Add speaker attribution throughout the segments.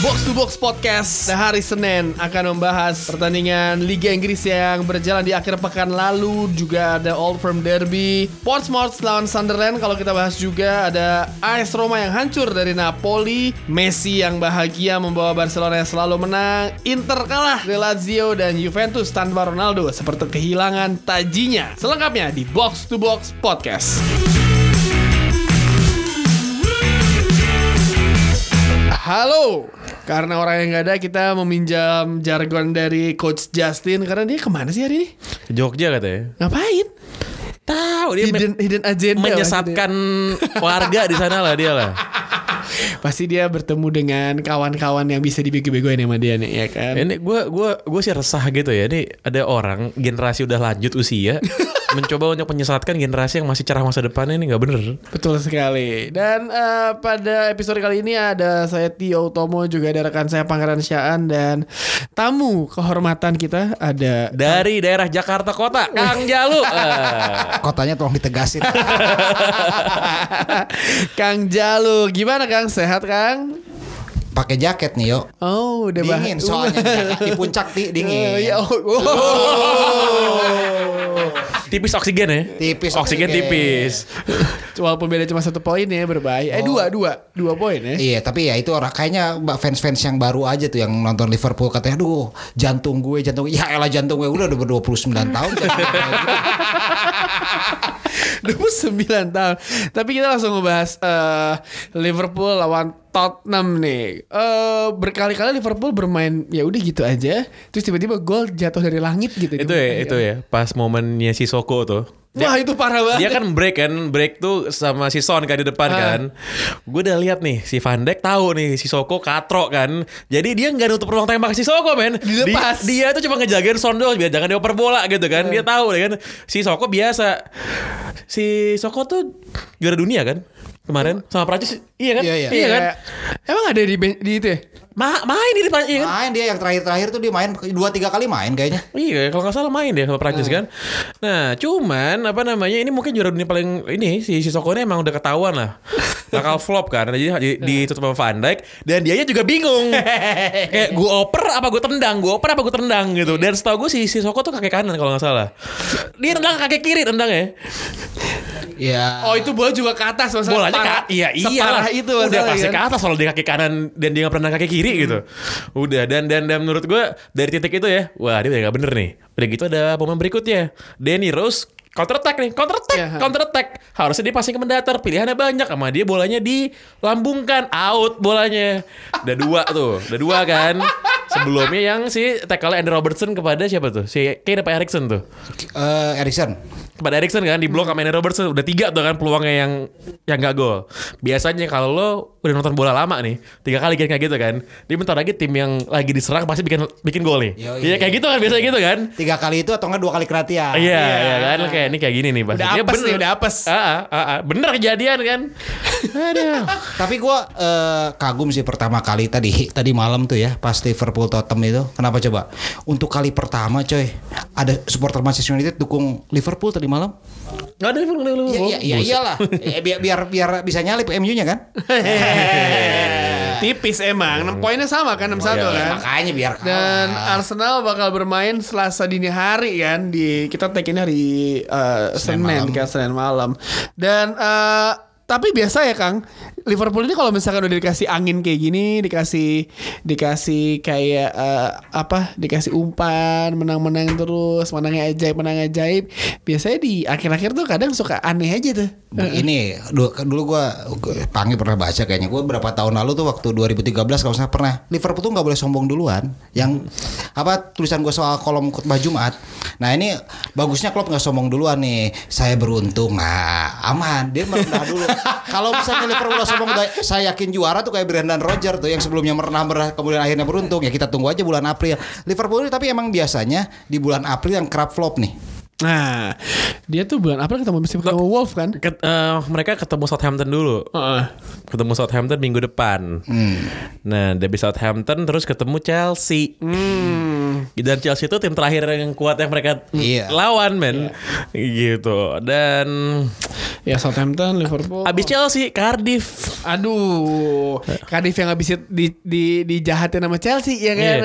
Speaker 1: Box to Box Podcast Nah, hari Senin akan membahas pertandingan Liga Inggris yang berjalan di akhir pekan lalu juga ada Old Firm Derby Portsmouth lawan Sunderland kalau kita bahas juga ada AS Roma yang hancur dari Napoli Messi yang bahagia membawa Barcelona yang selalu menang Inter kalah dari Lazio dan Juventus tanpa Ronaldo seperti kehilangan tajinya selengkapnya di Box to Box Podcast Halo. Karena orang yang nggak ada kita meminjam jargon dari Coach Justin karena dia kemana sih hari ini?
Speaker 2: Ke Jogja katanya.
Speaker 1: Ngapain?
Speaker 2: Tahu dia
Speaker 1: Hidden, hidden agenda.
Speaker 2: menyesatkan warga di sana lah dia lah.
Speaker 1: maksudnya. Pasti dia bertemu dengan kawan-kawan yang bisa dibego-begoin sama dia nih, ya kan?
Speaker 2: Ini gue gua gua sih resah gitu ya. Ini ada orang generasi udah lanjut usia mencoba untuk menyesatkan generasi yang masih cerah masa depannya ini nggak bener.
Speaker 1: Betul sekali. Dan eh, pada episode kali ini ada saya Tio Utomo, juga ada rekan saya Pangeran Syaan dan tamu kehormatan kita ada
Speaker 2: Dari daerah Jakarta Kota, Kang Jalu. Ah.
Speaker 3: Kotanya tolong ditegasin.
Speaker 1: Kang Jalu. Gimana Kang? Sehat Kang?
Speaker 3: Pakai jaket nih, yo.
Speaker 1: Oh, udah bah-
Speaker 3: Dingin soalnya di Jakarta, di puncak ti
Speaker 1: Eh,
Speaker 3: dingin.
Speaker 1: ya, oh, oh.
Speaker 2: tipis oksigen ya?
Speaker 3: Tipis
Speaker 2: oksigen,
Speaker 3: oksigen.
Speaker 2: tipis.
Speaker 1: Walaupun beda cuma satu poin ya berbahaya. Eh dua dua dua poin ya.
Speaker 3: Iya, tapi ya itu orang kayaknya mbak fans-fans yang baru aja tuh yang nonton Liverpool katanya, aduh jantung gue, jantung gue. Ya elah jantung gue udah udah ber 29 tahun. jantung gue kayak gitu.
Speaker 1: 29 tahun. Tapi kita langsung ngebahas eh, Liverpool lawan Tottenham nih. Eh berkali-kali Liverpool bermain ya udah gitu aja. Terus tiba-tiba gol jatuh dari langit gitu.
Speaker 2: Itu ya, itu ya. Pas momennya si Soko tuh.
Speaker 1: Wah itu parah banget.
Speaker 2: dia kan break kan break tuh sama si Son kan di depan
Speaker 1: Ah.
Speaker 2: kan gue udah lihat nih si Van Dijk tahu nih si Soko katro kan jadi dia nggak nutup ruang tembak si Soko men
Speaker 1: Dilepas.
Speaker 2: dia, dia tuh cuma ngejagain Son doang biar jangan dioper bola gitu kan
Speaker 3: Iya.
Speaker 2: dia tahu deh kan si Soko biasa si Soko tuh juara dunia kan kemarin sama Prancis iya kan
Speaker 3: Iya, iya.
Speaker 2: kan
Speaker 1: Emang ada di ben- di itu ya?
Speaker 2: Ma- main di depan iya kan
Speaker 3: Main dia yang terakhir-terakhir tuh dia main dua tiga kali main kayaknya.
Speaker 2: Iya, kalau nggak salah main deh sama Prancis kan. Nah, cuman apa namanya ini mungkin juara dunia paling ini si Sissoko ini emang udah ketahuan lah. Bakal flop kan. Jadi di- ditutup sama Van Dijk dan dianya juga bingung. Kayak gue oper apa gue tendang, gue oper apa gue tendang gitu. Dan setahu gue si Sissoko tuh kaki kanan kalau nggak salah. Dia tendang ke kaki kiri tendangnya.
Speaker 3: Iya.
Speaker 1: Oh itu bola juga ke atas masalah.
Speaker 2: Bolanya
Speaker 1: Parah-
Speaker 2: ka- iya iya
Speaker 1: separah itu
Speaker 2: udah
Speaker 1: masalahnya
Speaker 2: pasti
Speaker 1: kan.
Speaker 2: ke atas kalau dia kaki kanan dan dia nggak pernah kaki kiri gitu
Speaker 1: Hmm.
Speaker 2: udah dan dan dan menurut gue dari titik itu ya wah dia udah nggak bener nih udah gitu ada pemain berikutnya Danny Rose counter attack nih counter attack
Speaker 1: Iya.
Speaker 2: counter attack harusnya dia passing ke mendatar pilihannya banyak sama dia bolanya dilambungkan out bolanya ada dua tuh ada dua kan sebelumnya yang si tackle Andy Robertson kepada siapa tuh si kayak apa Erikson tuh
Speaker 3: Eh, Erikson.
Speaker 2: kepada Erikson kan di blok sama Andy Robertson udah tiga tuh kan peluangnya yang yang gak gol. Biasanya kalau lo udah nonton bola lama nih tiga kali kan kayak gitu kan, dia bentar lagi tim yang lagi diserang pasti bikin bikin gol nih.
Speaker 3: Yoi. Ah,
Speaker 2: Iya kayak gitu kan biasanya gitu kan.
Speaker 3: Tiga kali itu atau enggak dua kali
Speaker 2: Iya,
Speaker 3: keratia.
Speaker 2: iya kan Lo kayak ini kayak gini nih pasti.
Speaker 1: Udah apes nih, udah apes.
Speaker 2: Ah, ah, ah, ah. bener kejadian kan. Aduh.
Speaker 3: Tapi gua eh, kagum sih pertama kali tadi tadi malam tuh ya pas Liverpool Tottenham itu. Kenapa coba? Untuk kali pertama coy ada supporter Manchester United dukung Liverpool tadi malam.
Speaker 2: Gak ada Liverpool, nggak ada
Speaker 3: Iya
Speaker 2: Liverpool.
Speaker 3: iya iya iyalah. Eh, biar biar biar bisa nyalip MU-nya kan?
Speaker 1: Tipis emang. Enam poinnya sama kan 6-1
Speaker 2: Iya,
Speaker 1: kan.
Speaker 3: Makanya biar kalah.
Speaker 1: Dan Arsenal bakal bermain Selasa dini hari kan di kita take ini hari uh, Senin kan Senin malam. Dan uh, tapi biasa ya Kang, Liverpool ini kalau misalkan udah dikasih angin kayak gini, dikasih dikasih kayak uh, apa? Dikasih umpan, menang-menang terus, menangnya ajaib, menang ajaib. Biasanya di akhir-akhir tuh kadang suka aneh aja tuh.
Speaker 3: ini dulu, dulu gua Pangi pernah baca kayaknya gua berapa tahun lalu tuh waktu 2013 kalau saya pernah Liverpool tuh nggak boleh sombong duluan yang apa tulisan gua soal kolom khotbah Jumat nah ini bagusnya Klopp nggak sombong duluan nih saya beruntung nah aman dia merendah dulu kalau misalnya Liverpool udah sombong udah- saya yakin juara tuh kayak Brendan Rodgers tuh yang sebelumnya merendah merendah kemudian akhirnya beruntung ya kita tunggu aja bulan April Liverpool ini tapi emang biasanya di bulan April yang kerap flop nih
Speaker 1: Nah, dia tuh bulan April ketemu mesti ketemu Wolf kan?
Speaker 2: Ket- eh, mereka ketemu Southampton dulu.
Speaker 1: Heeh.
Speaker 2: ketemu Southampton
Speaker 3: Hmm.
Speaker 2: minggu depan. Nah, dari Southampton terus ketemu Chelsea.
Speaker 1: Hmm.
Speaker 2: Dan Chelsea itu tim terakhir yang kuat yang mereka
Speaker 3: Iya.
Speaker 2: lawan men. Gitu. Dan
Speaker 1: Ya Southampton, Liverpool.
Speaker 2: abis Chelsea Cardiff.
Speaker 1: Aduh, Cardiff yang habis di, di, dijahatin sama Chelsea ya kan.
Speaker 2: Iya.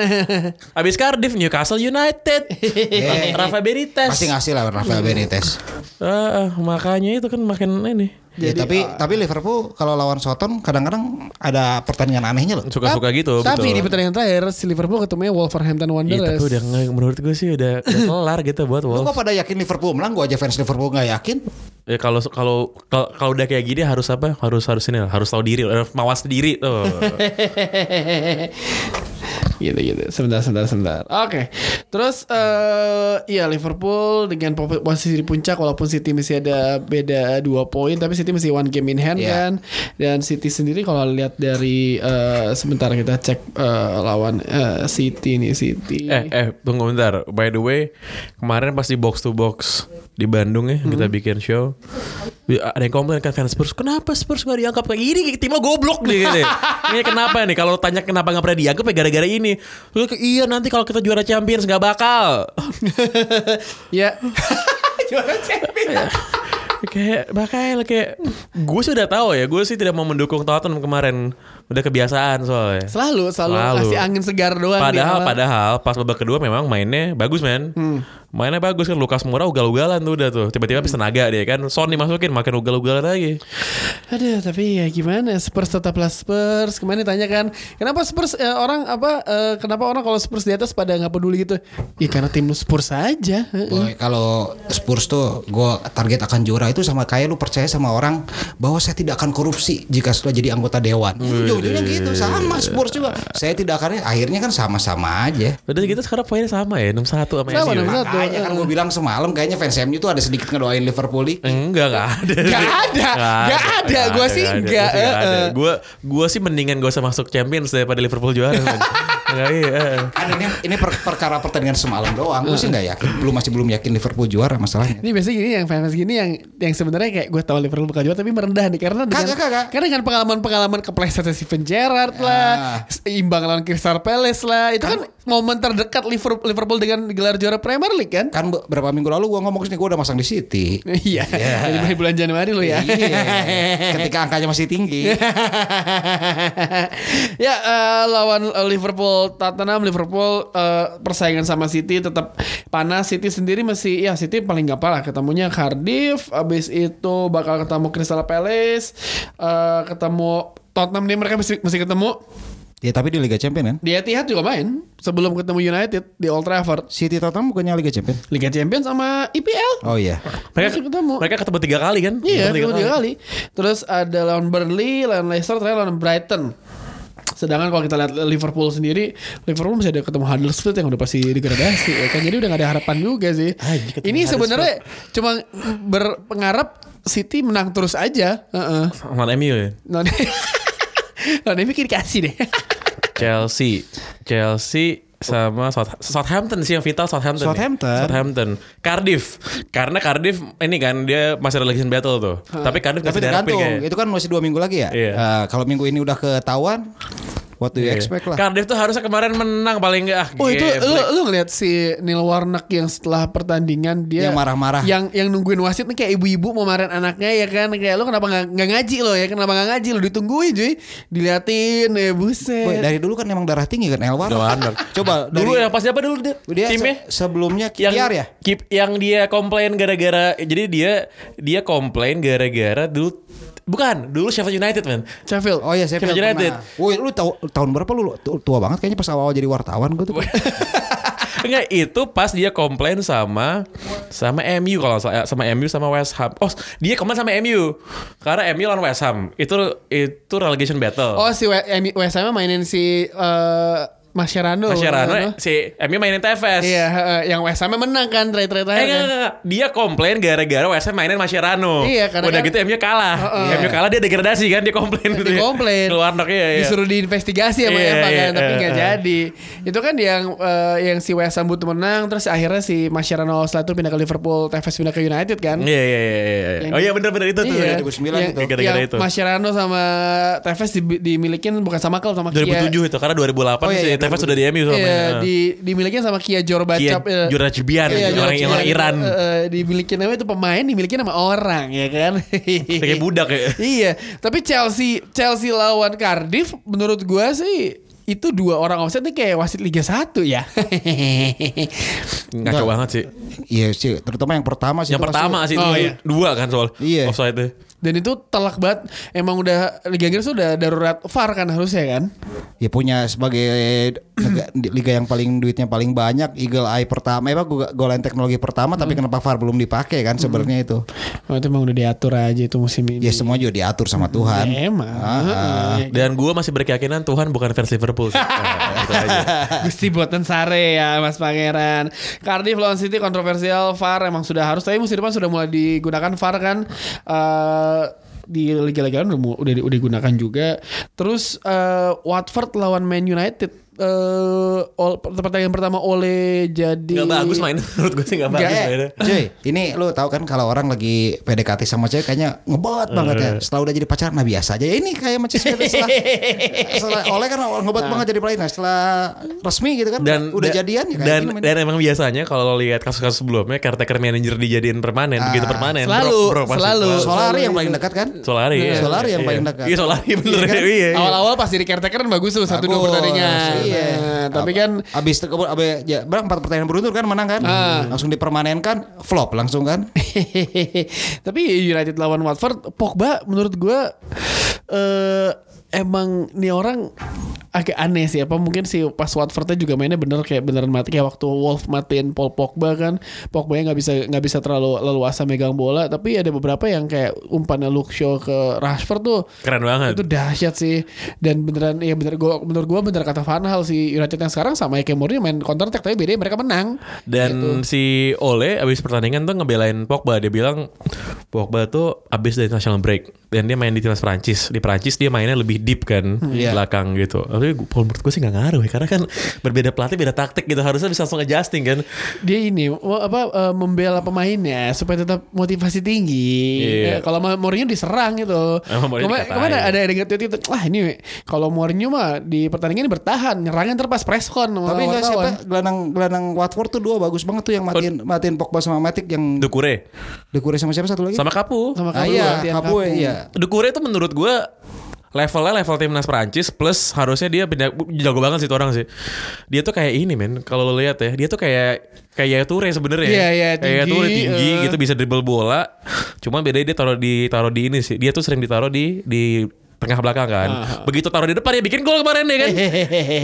Speaker 2: Abis Cardiff Newcastle United.
Speaker 3: Iya.
Speaker 2: Rafa Benitez.
Speaker 3: Pasti ngasih lah Rafael Benitez.
Speaker 2: Ah, ah, makanya itu kan makin ini
Speaker 3: Ya, tapi tapi Liverpool kalau lawan Soton kadang-kadang ada pertandingan anehnya loh.
Speaker 2: suka-suka gitu.
Speaker 1: Tapi di
Speaker 2: betul.
Speaker 1: pertandingan terakhir si Liverpool ketemunya Wolverhampton
Speaker 2: Iya,
Speaker 1: Wanderers.
Speaker 2: tapi udah nggak- menurut gue sih udah udah kelar gitu buat
Speaker 3: Lu
Speaker 2: Wolves.
Speaker 3: kok pada yakin Liverpool menang? Gua aja fans Liverpool nggak yakin.
Speaker 2: Ya kalau kalau kalau kalau udah kayak gini harus apa? Harus harus ini lah, harus tahu diri, harus mawas diri Oh. tuh.
Speaker 1: gitu gitu. Sebentar sebentar sebentar. Oke. Terus eh ya Liverpool dengan po- posisi di puncak walaupun City masih ada beda dua poin tapi City masih one game in hand
Speaker 3: Iya.
Speaker 1: kan. Dan City sendiri kalau lihat dari eh, sebentar kita cek eh, lawan eh, City nih City.
Speaker 2: eh eh tunggu bentar. By the way, kemarin pas di box to box di Bandung ya kita bikin show. Ya, Ada yang komplain kan fans Spurs, kenapa Spurs nggak dianggap kayak gini? Timnya goblok nih. gini. ini kenapa nih? Kalau tanya kenapa nggak pernah dianggap ya gara-gara ini. Lu kayak, iya nanti kalau kita juara Champions nggak bakal.
Speaker 1: Ya. Juara champion.
Speaker 2: kayak bakal kayak gue sih udah tahu ya gue sih tidak mau mendukung Tottenham kemarin udah kebiasaan soalnya
Speaker 1: Selalu selalu
Speaker 2: Selalu.
Speaker 1: kasih angin segar doang di
Speaker 2: padahal
Speaker 1: awal. Hmm.
Speaker 2: padahal pas babak kedua memang mainnya bagus men mainnya bagus kan Lukas Moura ugal-ugalan tuh udah tuh tiba-tiba
Speaker 1: Hmm.
Speaker 2: habis tenaga dia kan Son dimasukin makin ugal-ugalan lagi
Speaker 1: Aduh, tapi ya gimana Spurs tetaplah Spurs. Kemarin ditanya kan, kenapa Spurs eh, orang apa eh, kenapa orang kalau Spurs di atas pada nggak peduli gitu? Ya karena tim lu Spurs aja. Heeh.
Speaker 3: Boy, kalau Spurs tuh gue target akan juara itu sama kayak lu percaya sama orang bahwa saya tidak akan korupsi jika sudah jadi anggota dewan. Jujurnya gitu sama Spurs juga. Saya tidak akan akhirnya kan sama-sama aja.
Speaker 2: udah kita sekarang poinnya sama ya 61 sama
Speaker 1: Sama, 61.
Speaker 2: MU
Speaker 1: Satu,
Speaker 3: Makanya kan gue bilang semalam kayaknya fans MU tuh ada sedikit ngedoain Liverpool nih.
Speaker 2: Enggak, enggak ada.
Speaker 1: Nggak ada, nggak ada. Gua sih nggak, eh, eh.
Speaker 2: Gue gua sih mendingan gak usah masuk Champions daripada Liverpool juara. men. Enggak iya. eh.
Speaker 3: Kan ini ini per- perkara pertandingan semalam doang. Gue sih nggak yakin. Belum masih belum yakin Liverpool juara masalahnya.
Speaker 1: Ini biasanya gini yang fans gini yang yang sebenarnya kayak gue tahu Liverpool bakal juara tapi merendah nih karena dengan
Speaker 3: Kagak, Ya. kagak.
Speaker 1: karena dengan pengalaman-pengalaman keplesetnya Steven Gerrard lah, imbang lawan Crystal Palace lah, itu kan momen terdekat Liverpool Liverpool dengan gelar juara Premier League kan?
Speaker 3: Kan be- berapa minggu lalu gue ngomong sini gue udah masang di City.
Speaker 1: Iya. Jadi mulai bulan Januari lo ya.
Speaker 3: Iya. Ketika angkanya masih tinggi.
Speaker 1: ya eh, lawan eh, Liverpool Tottenham Liverpool eh, persaingan sama City tetap panas City sendiri masih ya City paling gak kalah ketemunya Cardiff abis itu bakal ketemu Crystal Palace eh, ketemu Tottenham nih mereka masih, masih ketemu
Speaker 3: Ya tapi di Liga Champions kan.
Speaker 1: di Etihad juga main sebelum ketemu United di Old Trafford
Speaker 3: City Tottenham bukannya Liga Champions?
Speaker 1: Liga Champions sama IPL
Speaker 3: Oh iya.
Speaker 2: Mereka
Speaker 1: Masih ketemu.
Speaker 2: Mereka ketemu tiga kali kan?
Speaker 1: Iya, ketemu tiga kali. Terus ada lawan Burnley, lawan Leicester, terakhir lawan Brighton. Sedangkan kalau kita lihat Liverpool sendiri, Liverpool masih ada ketemu Huddersfield yang udah pasti degradasi ya kan. Jadi udah gak ada harapan juga sih.
Speaker 2: Anjir, ketemu
Speaker 1: Ini sebenarnya cuma berpengarap City menang terus aja. Heeh.
Speaker 2: Lawan MU ya.
Speaker 1: Nah, Nah, ini bikin kasih deh.
Speaker 2: Chelsea. Chelsea sama South- Southampton sih yang vital Southampton. ya.
Speaker 3: Southampton.
Speaker 2: Southampton. Cardiff. Karena Cardiff ini kan dia masih relegation battle tuh. Tapi Cardiff
Speaker 3: Tapi
Speaker 2: kasih
Speaker 3: tergantung.
Speaker 2: kayak.
Speaker 3: Itu kan masih dua minggu lagi ya.
Speaker 2: Iya.
Speaker 3: Eh, kalau minggu ini udah ketahuan, what do you expect lah?
Speaker 2: Iya. Cardiff tuh harusnya kemarin menang paling Ah, enggak.
Speaker 1: Oh itu lu, lu ngeliat si Neil Warnock yang setelah pertandingan dia
Speaker 3: Yang marah-marah.
Speaker 1: yang yang nungguin wasit nih kayak ibu-ibu mau marahin anaknya ya kan kayak lu kenapa nggak nggak ngaji lo ya kenapa nggak ngaji lo ditungguin cuy diliatin ya buset.
Speaker 3: Boy, dari dulu kan emang darah tinggi kan Elwar. Coba
Speaker 2: dulu
Speaker 3: dari-
Speaker 2: yang pas apa dulu dia?
Speaker 3: dia
Speaker 2: timnya?
Speaker 3: se- sebelumnya
Speaker 2: yang
Speaker 3: Kiar ya.
Speaker 2: Kip, yang dia komplain gara-gara jadi dia dia komplain gara-gara dulu bukan dulu Sheffield United man
Speaker 1: Sheffield.
Speaker 3: Oh iya, saya
Speaker 2: Sheffield
Speaker 3: pernah.
Speaker 2: United.
Speaker 3: Woi, lu tahu tahun berapa lu? Tu- Tua banget kayaknya pas awal jadi wartawan gue tuh.
Speaker 2: Enggak itu pas dia komplain sama sama MU kalau nggak salah sama MU sama West Ham. Oh, dia komplain sama MU. Karena MU lawan West Ham. Itu itu relegation battle.
Speaker 1: Oh si W- Emi- West Ham mainin si eh Mascherano.
Speaker 3: eh,
Speaker 2: Mascherano si MU mainin Tevez.
Speaker 1: Iya, heeh, yang West Ham menang kan terakhir
Speaker 2: Eh,
Speaker 1: terakhir.
Speaker 2: enggak, enggak, enggak. Dia komplain gara-gara West Ham mainin Mascherano.
Speaker 1: Iya, karena
Speaker 2: Udah
Speaker 1: kan-
Speaker 2: gitu MU kalah. MU kalah dia degradasi kan dia komplain gitu.
Speaker 1: Dia komplain.
Speaker 2: Keluar iya, iya.
Speaker 1: Disuruh diinvestigasi sama
Speaker 2: Iya,
Speaker 1: Eva kan,
Speaker 2: iya,
Speaker 1: tapi nggak
Speaker 2: iya.
Speaker 1: jadi. Itu kan yang eh, yang si West Ham butuh menang, terus akhirnya si Mascherano setelah itu pindah ke Liverpool, Tevez pindah ke United kan.
Speaker 2: Iya iya iya iya. iya. Oh iya bener-bener itu tuh.
Speaker 1: Iya.
Speaker 3: 2009
Speaker 1: yang,
Speaker 3: itu.
Speaker 2: Gara-gara
Speaker 1: yang
Speaker 2: itu.
Speaker 1: Mascherano sama Tevez di- dimilikin bukan sama klub sama Kia.
Speaker 2: 2007 itu karena 2008
Speaker 3: Oh, iya,
Speaker 2: sih
Speaker 3: iya,
Speaker 2: Tevez sudah di MU sama
Speaker 1: Iya,
Speaker 2: ya.
Speaker 1: di dimilikin sama Kia eh, Jorbacap.
Speaker 2: Kia
Speaker 3: iya.
Speaker 2: Jorajibian, Iya, orang- orang Iran.
Speaker 1: Eh, dimiliki namanya itu pemain dimiliki nama orang ya kan.
Speaker 2: Kayak budak ya.
Speaker 1: iya, tapi Chelsea Chelsea lawan Cardiff menurut gua sih itu dua orang offset nih kayak wasit Liga 1 ya.
Speaker 2: Ngaco
Speaker 3: Enggak.
Speaker 2: banget sih.
Speaker 3: Iya sih, terutama yang pertama sih.
Speaker 2: Yang
Speaker 3: itu pasti-
Speaker 2: pertama sih itu
Speaker 1: Oh, iya.
Speaker 2: dua kan soal
Speaker 3: Iya.
Speaker 2: offside itu.
Speaker 1: Dan itu telak banget. Emang udah Liga Inggris udah darurat VAR kan harusnya kan?
Speaker 3: Ya punya sebagai nega- di- liga yang paling duitnya paling banyak, Eagle Eye pertama, eh, apa go- goal line teknologi pertama, tapi
Speaker 2: Hmm.
Speaker 3: kenapa VAR belum dipakai kan sebenarnya itu?
Speaker 1: Oh, itu emang udah diatur aja itu musim ini.
Speaker 3: Ya semua kan. Ah, juga diatur
Speaker 2: Hmm.
Speaker 3: sama Tuhan.
Speaker 1: Ya, emang. Heeh.
Speaker 2: Dan gue masih berkeyakinan Tuhan bukan fans Liverpool. sih. Nah, gitu aja.
Speaker 1: Gusti buatan sare ya Mas Pangeran. Cardiff lawan City kontroversial VAR emang sudah harus tapi musim depan sudah mulai digunakan VAR kan Eh, di liga-liga lain udah mu- udah di- udah digunakan juga. Terus eh, Watford lawan Man United eh ol- pertandingan pertama oleh jadi
Speaker 2: Nggak bagus main menurut gue sih nggak bagus
Speaker 3: Eh,
Speaker 2: mainnya.
Speaker 3: cuy, ini lu tahu kan kalau orang lagi PDKT sama cewek kayaknya
Speaker 2: Eh.
Speaker 3: ngebot banget ya. Setelah udah jadi pacar nah biasa aja. Ya ini kayak macam setelah, setelah oleh kan ngebot banget jadi pelayan. Nah, setelah resmi gitu kan
Speaker 2: dan
Speaker 3: udah
Speaker 2: da-
Speaker 3: jadian ya kayak
Speaker 2: dan
Speaker 3: gini main.
Speaker 2: dan emang biasanya kalau lihat kasus-kasus sebelumnya caretaker manager dijadiin permanen
Speaker 3: Ah,
Speaker 2: begitu permanen
Speaker 1: selalu,
Speaker 2: pasti.
Speaker 1: selalu.
Speaker 3: Solari yang paling dekat kan?
Speaker 2: Solari iya.
Speaker 3: Solari yang
Speaker 2: Iya.
Speaker 3: paling dekat.
Speaker 2: iya Solari bener
Speaker 3: Iya kan?
Speaker 2: ya iya
Speaker 1: Awal-awal pas jadi caretaker kan bagus tuh satu dua
Speaker 3: Bagus,
Speaker 1: pertandingan.
Speaker 3: Iya.
Speaker 1: Nah, tapi kan
Speaker 3: abis itu kebun- abis ya, berang empat pertandingan beruntun kan menang kan?
Speaker 1: Ah.
Speaker 3: Langsung dipermanenkan flop langsung kan?
Speaker 1: Hehehe. Tapi United lawan Watford, Pogba menurut gua eh, emang nih orang agak aneh sih apa mungkin si pas Watfordnya juga mainnya bener kayak beneran mati kayak waktu Wolf matiin Paul Pogba kan Pogba nggak bisa nggak bisa terlalu leluasa megang bola tapi ada beberapa yang kayak umpannya Luke Shaw ke Rashford tuh
Speaker 2: keren banget
Speaker 1: itu dahsyat sih dan beneran ya bener gua menurut gua bener kata Van Hal si United yang sekarang sama ya kayak Mourinho main counter attack tapi bedanya mereka menang
Speaker 2: dan si Ole abis pertandingan tuh ngebelain Pogba dia bilang Pogba tuh abis dari national break dan dia main di timnas Prancis di Prancis dia mainnya lebih deep kan di
Speaker 3: Iya.
Speaker 2: belakang gitu tapi gua- menurut gue sih nggak ngaruh ya karena kan berbeda pelatih beda taktik gitu harusnya bisa langsung adjusting kan
Speaker 1: dia ini wa- apa eh, membela pemainnya supaya tetap motivasi tinggi.
Speaker 2: Iya.
Speaker 1: Ya, kalau sama Mourinho diserang gitu.
Speaker 2: Sama Mourinho
Speaker 1: Kemar-
Speaker 2: dikatain.
Speaker 1: Kemarin ada ada yang tweet itu, wah ini kalau Mourinho mah di pertandingan ini bertahan, nyerangnya terpas press con sama
Speaker 3: Tapi enggak siapa
Speaker 1: wartawan.
Speaker 3: gelandang gelandang Watford tuh dua bagus banget tuh yang matiin matiin Pogba sama Matic yang
Speaker 2: Dukure
Speaker 3: Dekure sama siapa satu lagi?
Speaker 2: sama Kapu
Speaker 1: Sama
Speaker 3: Ah,
Speaker 1: Kabul,
Speaker 3: iya,
Speaker 1: latihan
Speaker 3: Kabul,
Speaker 1: Kabul.
Speaker 3: iya.
Speaker 2: Dukure itu menurut gue levelnya level timnas Perancis plus harusnya dia pindah jago banget sih itu orang sih. Dia tuh kayak ini men kalau lo lihat ya, dia tuh kayak kayak Ture sebenarnya.
Speaker 1: Iya, iya,
Speaker 2: Kayak
Speaker 1: tinggi,
Speaker 2: Ture tinggi
Speaker 1: eh.
Speaker 2: gitu bisa dribble bola. Cuman bedanya dia taruh di taruh di ini sih. Dia tuh sering ditaruh di di tengah belakang kan.
Speaker 1: Ah.
Speaker 2: Begitu taruh di depan ya bikin gol kemarin ya kan.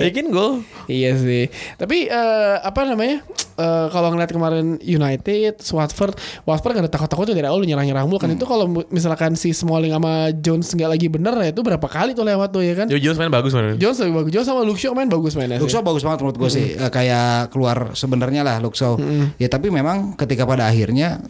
Speaker 2: bikin gol.
Speaker 1: Iya sih. Tapi eh, apa namanya? Eh, kalau ngeliat kemarin United, Watford, Watford gak ada takut-takut dari awal nyerang-nyerang mulu kan
Speaker 2: Hmm.
Speaker 1: itu kalau misalkan si Smalling sama Jones nggak lagi bener ya itu berapa kali tuh lewat tuh ya kan?
Speaker 2: Joe Jones main bagus man.
Speaker 1: Jones lebih bagus. Jones sama Luke Shaw main bagus mainnya. Iya sih.
Speaker 3: Luxo bagus banget menurut gue sih Eh, kayak keluar sebenarnya lah Luxo. Ya tapi memang ketika pada akhirnya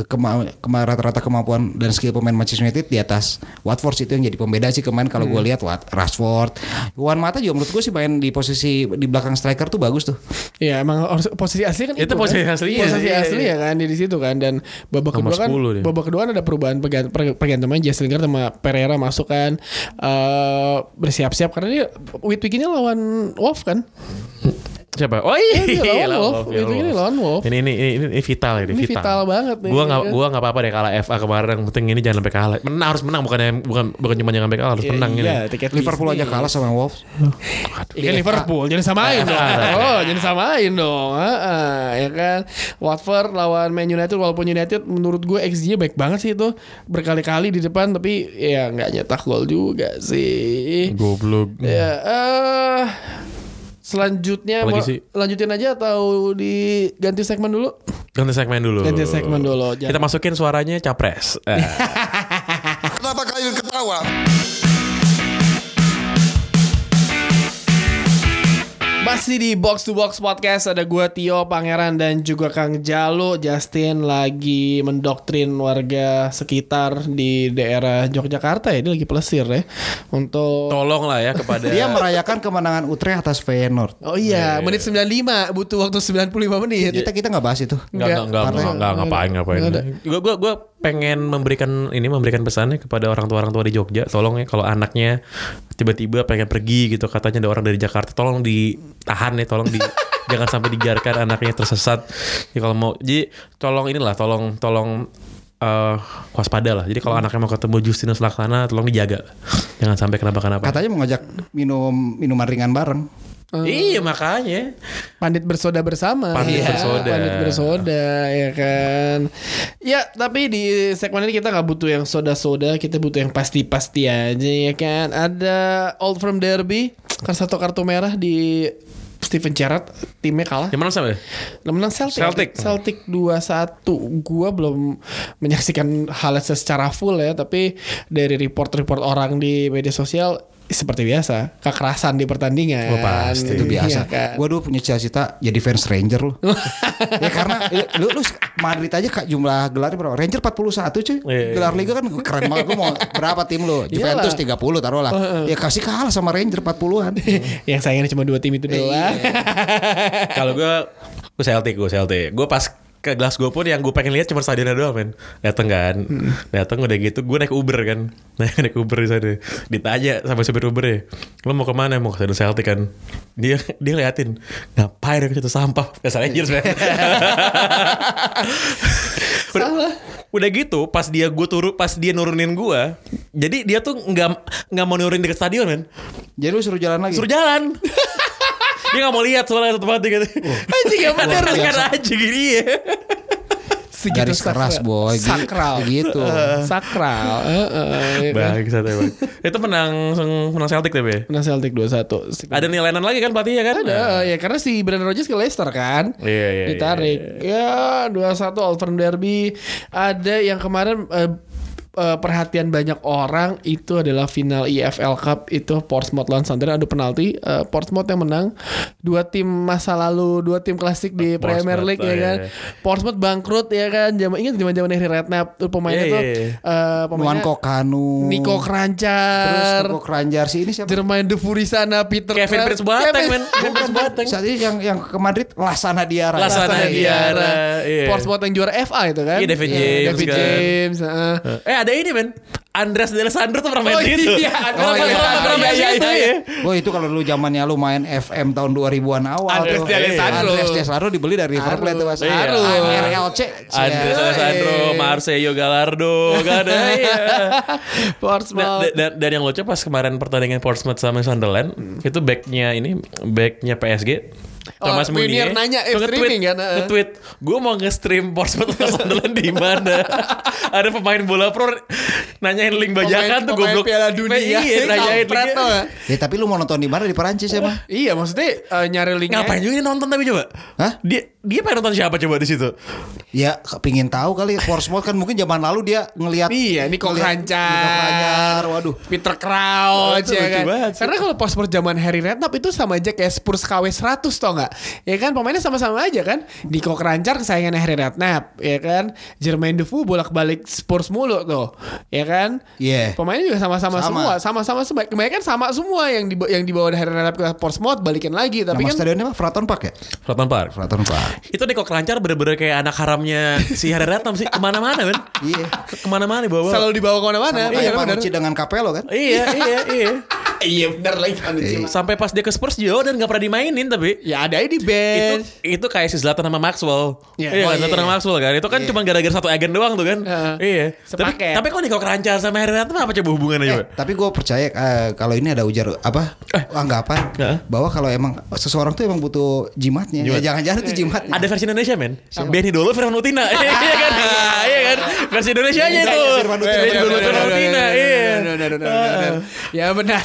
Speaker 3: eh, kema kema- rata-rata kemampuan dan skill pemain Manchester United di atas Watford sih itu yang jadi pembeda sih kemarin kalau gue lihat Wat Rashford, Juan Mata juga menurut gue sih main di posisi di belakang striker tuh bagus tuh.
Speaker 1: Iya emang harus- posisi asli kan
Speaker 2: Itu posisi aslinya.
Speaker 1: Posisi
Speaker 2: Iya,
Speaker 1: asli
Speaker 2: iya.
Speaker 1: ya kan di di situ kan dan babak
Speaker 2: Nomor
Speaker 1: kedua kan
Speaker 2: 10 dia.
Speaker 1: babak kedua kan ada perubahan pergan- per- pergantian Jesse Lingard sama Pereira masuk kan eh, bersiap-siap karena dia week week ini lawan Wolf kan.
Speaker 2: Siapa? Oh
Speaker 1: Iya, dia
Speaker 2: iya,
Speaker 1: lawan Wolf.
Speaker 2: iya,
Speaker 1: Itu ini lawan Wolf.
Speaker 2: Ini ini ini, ini vital ini,
Speaker 1: Ini vital banget nih,
Speaker 2: Gua nggak
Speaker 1: ya kan?
Speaker 2: gua nggak apa-apa deh kalah FA kemarin. Yang penting ini jangan sampai kalah. Menang harus menang bukan bukan bukan cuma jangan sampai kalah
Speaker 1: Iya,
Speaker 2: harus menang ini.
Speaker 1: tiket
Speaker 3: Liverpool aja kalah sama Wolves.
Speaker 1: Iya kan Liverpool jadi samain
Speaker 2: Iya,
Speaker 1: dong. Oh, jadi samain dong. Heeh, ya kan. Watford lawan Man United walaupun United menurut gue XG-nya baik banget sih itu. Berkali-kali di depan tapi ya nggak nyetak gol juga sih.
Speaker 2: Goblok.
Speaker 1: Ya, eh selanjutnya
Speaker 2: Apalagi
Speaker 1: mau
Speaker 2: sih?
Speaker 1: lanjutin aja atau diganti segmen dulu?
Speaker 2: Ganti segmen dulu.
Speaker 1: Ganti segmen dulu, jangan.
Speaker 2: Kita masukin suaranya capres. Eh,
Speaker 4: Kenapa kalian ketawa?
Speaker 1: Masih di Box to Box Podcast ada gua Tio Pangeran dan juga Kang Jalo Justin lagi mendoktrin warga sekitar di daerah Yogyakarta ya dia lagi pelesir ya untuk
Speaker 2: Tolong lah ya kepada
Speaker 3: Dia merayakan kemenangan Utrecht atas Feyenoord.
Speaker 1: Oh iya menit 95 butuh waktu 95 menit
Speaker 3: Kita kita nggak bahas itu.
Speaker 2: Enggak, enggak, enggak,
Speaker 1: Parah.
Speaker 2: enggak, ngapain, ngapain.
Speaker 1: Nggak ada.
Speaker 2: Gue gue gue pengen memberikan ini memberikan pesannya kepada orang tua orang tua di Jogja, tolong ya kalau anaknya tiba-tiba pengen pergi gitu katanya ada orang dari Jakarta, tolong ditahan ya, tolong di jangan sampai dibiarkan anaknya tersesat. Ya kalau mau, jadi tolong inilah, tolong tolong eh waspada lah. Jadi kalau anaknya mau ketemu Justinus Laksana, tolong dijaga. Jangan sampai kenapa-kenapa.
Speaker 3: Katanya mau ngajak minum minuman ringan bareng.
Speaker 2: Iya makanya.
Speaker 1: Pandit bersoda bersama.
Speaker 2: Pandit
Speaker 1: Ya,
Speaker 2: bersoda.
Speaker 1: Pandit bersoda, ya kan. Ya, tapi di segmen ini kita nggak butuh yang soda-soda, kita butuh yang pasti-pasti aja, ya kan. Ada Old Firm Derby, kan satu kartu merah di Steven Gerrard timnya kalah.
Speaker 2: Yang mana sampai?
Speaker 1: Nah, menang Celtic.
Speaker 2: Celtic.
Speaker 1: Celtic 2-1. Gua belum menyaksikan halasnya secara full ya, tapi dari report-report orang di media sosial seperti biasa, kekerasan di pertandingan.
Speaker 2: Oh, pasti.
Speaker 3: itu
Speaker 1: Iya
Speaker 3: biasa.
Speaker 1: kan?
Speaker 3: Gue dulu punya cita-cita jadi fans Ranger lu. ya karena ya, lu, lu Madrid aja kak jumlah gelarnya berapa? Ranger 41 cuy.
Speaker 2: Iya, iya.
Speaker 3: Gelar liga kan keren banget lu mau berapa tim lu? Juventus 30 taruh lah. Ya kasih kalah sama Ranger 40-an.
Speaker 1: yang sayangnya cuma dua tim itu
Speaker 3: Iya.
Speaker 1: doang.
Speaker 2: Kalau gue gue Celtic, gue Celtic. Gue pas ke Glasgow pun yang gue pengen lihat cuma stadionnya doang men dateng kan dateng udah gitu gue naik Uber kan naik naik Uber di sana ditanya sama supir Uber ya lo mau kemana mau ke stadion Celtic kan dia dia ngeliatin ngapain ke situ sampah dasar anjir men udah, udah gitu pas dia gue turun pas dia nurunin gue jadi dia tuh nggak nggak mau nurunin deket stadion men
Speaker 3: Jadi lu suruh jalan lagi.
Speaker 2: suruh jalan dia nggak mau lihat soalnya satu mati gitu
Speaker 1: Oh.
Speaker 2: anjing gak bener
Speaker 3: Luar biasa.
Speaker 2: kan anjing gini ya
Speaker 3: Garis keras boy. Gi-
Speaker 1: Sakral.
Speaker 3: Gitu.
Speaker 1: Sakral. Eh, eh, ya kan?
Speaker 2: bangsat emang itu menang menang Celtic tapi ya?
Speaker 1: Menang Celtic 2-1. Si-
Speaker 2: ada nilai lain lagi kan pelatihnya kan
Speaker 1: Ada, ya karena si Brandon Rodgers ke Leicester kan.
Speaker 2: Iya, iya,
Speaker 1: Ditarik. Ya, 2-1 Old Firm Derby. Ada yang kemarin eh, eh, perhatian banyak orang itu adalah final EFL Cup itu Portsmouth lawan Sunderland adu penalti Eh, Portsmouth yang menang dua tim masa lalu dua tim klasik di
Speaker 2: Portsmouth,
Speaker 1: Premier League ya
Speaker 2: oh, iya,
Speaker 1: kan
Speaker 2: iya.
Speaker 1: Portsmouth bangkrut ya kan zaman ingat zaman zaman Harry Redknapp tuh pemainnya
Speaker 2: Iya,
Speaker 1: tuh
Speaker 2: iya,
Speaker 1: eh, pemainnya
Speaker 3: Nuan Kokanu.
Speaker 1: Nico
Speaker 3: Terus
Speaker 1: Kranjar
Speaker 3: Niko Kranjar si ini siapa?
Speaker 1: Jermain De Furisana Peter
Speaker 2: Kevin
Speaker 1: Clark.
Speaker 2: Prince Boateng men Kevin Prince Boateng
Speaker 3: Saat ini yang yang ke Madrid Lasana Diarra.
Speaker 2: Lassana
Speaker 1: Lassana
Speaker 2: Diarra,
Speaker 1: Diarra.
Speaker 2: iya.
Speaker 1: Portsmouth yang juara FA itu kan.
Speaker 2: Iya, David
Speaker 1: Iya,
Speaker 2: James
Speaker 1: David
Speaker 2: kan.
Speaker 1: James. heeh.
Speaker 2: eh ada ini men Andreas D'Alessandro tuh pernah main
Speaker 1: Oh,
Speaker 2: di situ
Speaker 1: iya,
Speaker 2: Pernah
Speaker 1: Andreas
Speaker 2: main-
Speaker 1: D'Alessandro,
Speaker 2: pernah main di
Speaker 1: iya,
Speaker 2: situ,
Speaker 1: iya, iya.
Speaker 2: ya.
Speaker 3: Woi itu kalau lu zamannya lu main FM tahun 2000-an awal
Speaker 1: Andres
Speaker 3: tuh.
Speaker 1: D'Alessandro.
Speaker 3: Andres D'Alessandro dibeli dari River Plate tuh Mas.
Speaker 1: Iya.
Speaker 3: RLC.
Speaker 2: Andreas D'Alessandro Marcelo Gallardo kan ada, iya.
Speaker 1: Portsmouth.
Speaker 2: Dan, dan, dan yang lucu pas kemarin pertandingan Portsmouth sama Sunderland itu backnya ini backnya PSG
Speaker 1: Hmm. Oh,
Speaker 2: Thomas
Speaker 1: Meunier
Speaker 2: Meunier
Speaker 1: nanya, eh,
Speaker 2: tuh nge-tweet,
Speaker 1: streaming kan, eh.
Speaker 2: nge-tweet, gue mau nge-stream Portsmouth sama Sunderland di mana? Ada pemain bola pro nanyain link bajakan kan tuh
Speaker 1: Pemain-
Speaker 2: goblok.
Speaker 1: pemain Piala Dunia.
Speaker 2: Iya, nanyain
Speaker 1: Kampret
Speaker 2: linknya.
Speaker 1: tau gak?
Speaker 3: Ya tapi lu mau nonton di mana di Perancis emang?
Speaker 1: Iya maksudnya eh, nyari linknya.
Speaker 2: Ngapain juga dia nonton tapi coba?
Speaker 3: Hah?
Speaker 2: Dia dia pengen nonton siapa coba di situ?
Speaker 3: Ya pingin tahu kali Portsmouth kan mungkin zaman lalu dia ngelihat
Speaker 1: Iya, Nico
Speaker 3: ngelihat Niko
Speaker 1: Kranjar,
Speaker 3: Kranjar, waduh.
Speaker 1: Peter Crouch
Speaker 2: Oh, itu
Speaker 1: ya
Speaker 2: lucu
Speaker 1: kan.
Speaker 2: banget sih.
Speaker 1: Karena kalau Portsmouth zaman Harry Redknapp itu sama aja kayak Spurs KW 100 tau nggak? Ya kan pemainnya sama-sama aja kan. Nico Kranjar kesayangan Harry Redknapp, ya kan. Jermain Defoe bolak-balik Spurs mulu tuh, ya kan.
Speaker 3: Iya.
Speaker 1: Pemainnya juga sama-sama
Speaker 3: Sama.
Speaker 1: semua, sama-sama semua. Kebanyakan sama semua yang di yang dibawa dari Harry Redknapp ke Portsmouth balikin lagi, tapi
Speaker 3: Nama
Speaker 1: kan
Speaker 3: stadionnya apa? Fraton Park ya?
Speaker 2: Fratton Park.
Speaker 3: Fraton Park.
Speaker 2: Itu Niko Krancar bener-bener kayak anak haramnya si Harry Ratnam sih kemana-mana kan?
Speaker 3: Iya.
Speaker 2: Kemana-mana bawa.
Speaker 1: selalu dibawa ke mana-mana.
Speaker 3: Sama
Speaker 1: Iya,
Speaker 3: kayak
Speaker 1: benar.
Speaker 3: Panucci dengan Capello kan?
Speaker 2: Iya, iya, iya.
Speaker 1: Iya, benar lagi Panucci.
Speaker 2: Sampai pas dia ke Spurs jauh dan nggak pernah dimainin tapi
Speaker 1: Ya ada di
Speaker 2: itu
Speaker 1: bench.
Speaker 2: itu kayak si Zlatan sama Maxwell.
Speaker 1: Iya.
Speaker 2: Iya,
Speaker 1: Oh,
Speaker 2: kan? Zlatan
Speaker 3: iya.
Speaker 2: sama Maxwell kan. Itu kan cuma gara-gara satu agen doang tuh kan.
Speaker 1: Heeh.
Speaker 2: Iya. Tapi
Speaker 1: Sepaket.
Speaker 2: tapi kok Niko Krancar sama Harry Ratnam apa coba hubungannya
Speaker 1: Iya.
Speaker 2: coba?
Speaker 3: Eh, tapi gue percaya eh, kalau ini ada ujar apa anggapan
Speaker 2: Eh.
Speaker 3: bahwa kalau emang seseorang tuh emang butuh jimatnya,
Speaker 2: Jimat.
Speaker 3: ya jangan-jangan
Speaker 1: Iya.
Speaker 3: itu jimatnya.
Speaker 2: Ada versi Indonesia men Benny Dolo Firman Utina Iya kan Nah, Iya kan Versi Indonesia
Speaker 1: Iya,
Speaker 2: aja itu
Speaker 3: Iya, Firman Utina,
Speaker 2: Benny Dolo Firman Utina Iya
Speaker 1: Ya benar.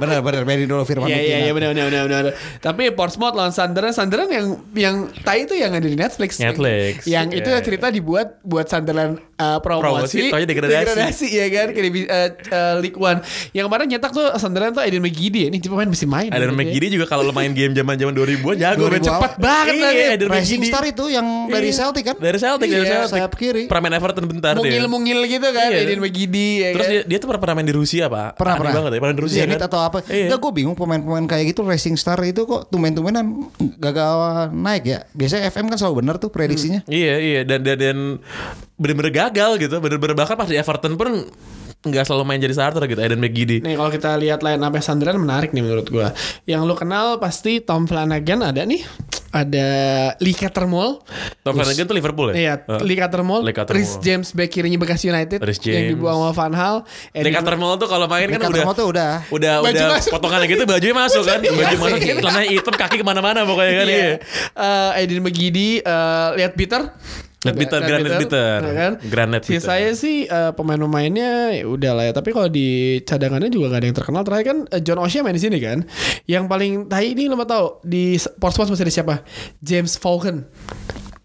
Speaker 3: Benar-benar Benny Dolo Firman
Speaker 1: Iya iya
Speaker 3: Utina.
Speaker 1: iya benar benar benar benar. Tapi Portsmouth lawan Sunderland, Sunderland yang yang tai itu yang ada di Netflix.
Speaker 2: Netflix.
Speaker 1: Yang itu
Speaker 2: Iya.
Speaker 1: cerita dibuat buat Sunderland uh,
Speaker 2: Promosi,
Speaker 1: promosi,
Speaker 2: taunya degradasi.
Speaker 1: ya kan ke divi- uh, uh, League One. Yang kemarin nyetak tuh Sunderland tuh Aiden McGiddy ya. Ini cuma main mesti main.
Speaker 2: Ada
Speaker 1: Gitu ya.
Speaker 2: McGiddy juga kalau lo main game zaman zaman 2000-an jago men
Speaker 3: 2000 awal.
Speaker 2: cepat banget
Speaker 1: Iya,
Speaker 2: lagi Adam
Speaker 3: Rising
Speaker 2: McGiddy.
Speaker 3: Star itu yang dari
Speaker 2: Iya.
Speaker 3: Celtic kan?
Speaker 2: Dari Celtic dari
Speaker 1: Iya,
Speaker 2: Celtic.
Speaker 3: sayap kiri.
Speaker 2: Pernah main Everton bentar ya. dia.
Speaker 1: Mungil-mungil gitu kan
Speaker 2: Iya.
Speaker 1: Aiden McGiddy ya
Speaker 2: Terus
Speaker 1: kan.
Speaker 2: dia, dia tuh pernah, pernah main di Rusia pak
Speaker 3: iya. Pernah
Speaker 2: Aneh
Speaker 3: pernah.
Speaker 2: banget ya Pernah di Rusia
Speaker 3: Zenit
Speaker 2: kan?
Speaker 3: atau apa?
Speaker 2: Iya.
Speaker 3: Enggak gue bingung pemain-pemain kayak gitu Racing Star itu kok tumben-tumbenan gagal naik ya. Biasanya FM kan selalu benar tuh prediksinya.
Speaker 2: Iya iya dan dan, dan bener-bener gagal gitu bener-bener bahkan pas di Everton pun nggak selalu main jadi starter gitu Eden McGiddy
Speaker 1: Nih kalau kita lihat line up Sunderland menarik nih menurut gua. Yang lu kenal pasti Tom Flanagan ada nih. Ada Lee Cattermole.
Speaker 2: Tom Flanagan tuh Liverpool ya
Speaker 1: Iya,
Speaker 2: Heeh.
Speaker 1: Lee Cattermole.
Speaker 2: Lee Cattermole.
Speaker 1: Rhys James back kirinya bekas United
Speaker 2: Rhys
Speaker 1: yang
Speaker 2: James.
Speaker 1: dibuang sama Van Hal.
Speaker 2: Lee Cattermole tuh kalau main
Speaker 3: Lee
Speaker 2: kan udah
Speaker 3: Cattermole tuh udah. Iya,
Speaker 2: udah
Speaker 1: Baju
Speaker 2: udah
Speaker 1: masuk.
Speaker 2: potongan gitu bajunya masuk kan baju masuk celana hitam kaki kemana-mana pokoknya kan iya.
Speaker 1: Iya. Eh, Edin Megidi, eh, lihat Peter.
Speaker 2: Lihat Peter, Granit Peter.
Speaker 1: Nah kan?
Speaker 2: Granit Peter.
Speaker 1: Sisanya sih eh, pemain-pemainnya ya udah lah ya. Tapi kalau di cadangannya juga gak ada yang terkenal. Terakhir kan eh, John O'Shea main di sini kan. Yang paling tai ini lo mau tahu di Portsmouth masih ada siapa? James Falcon.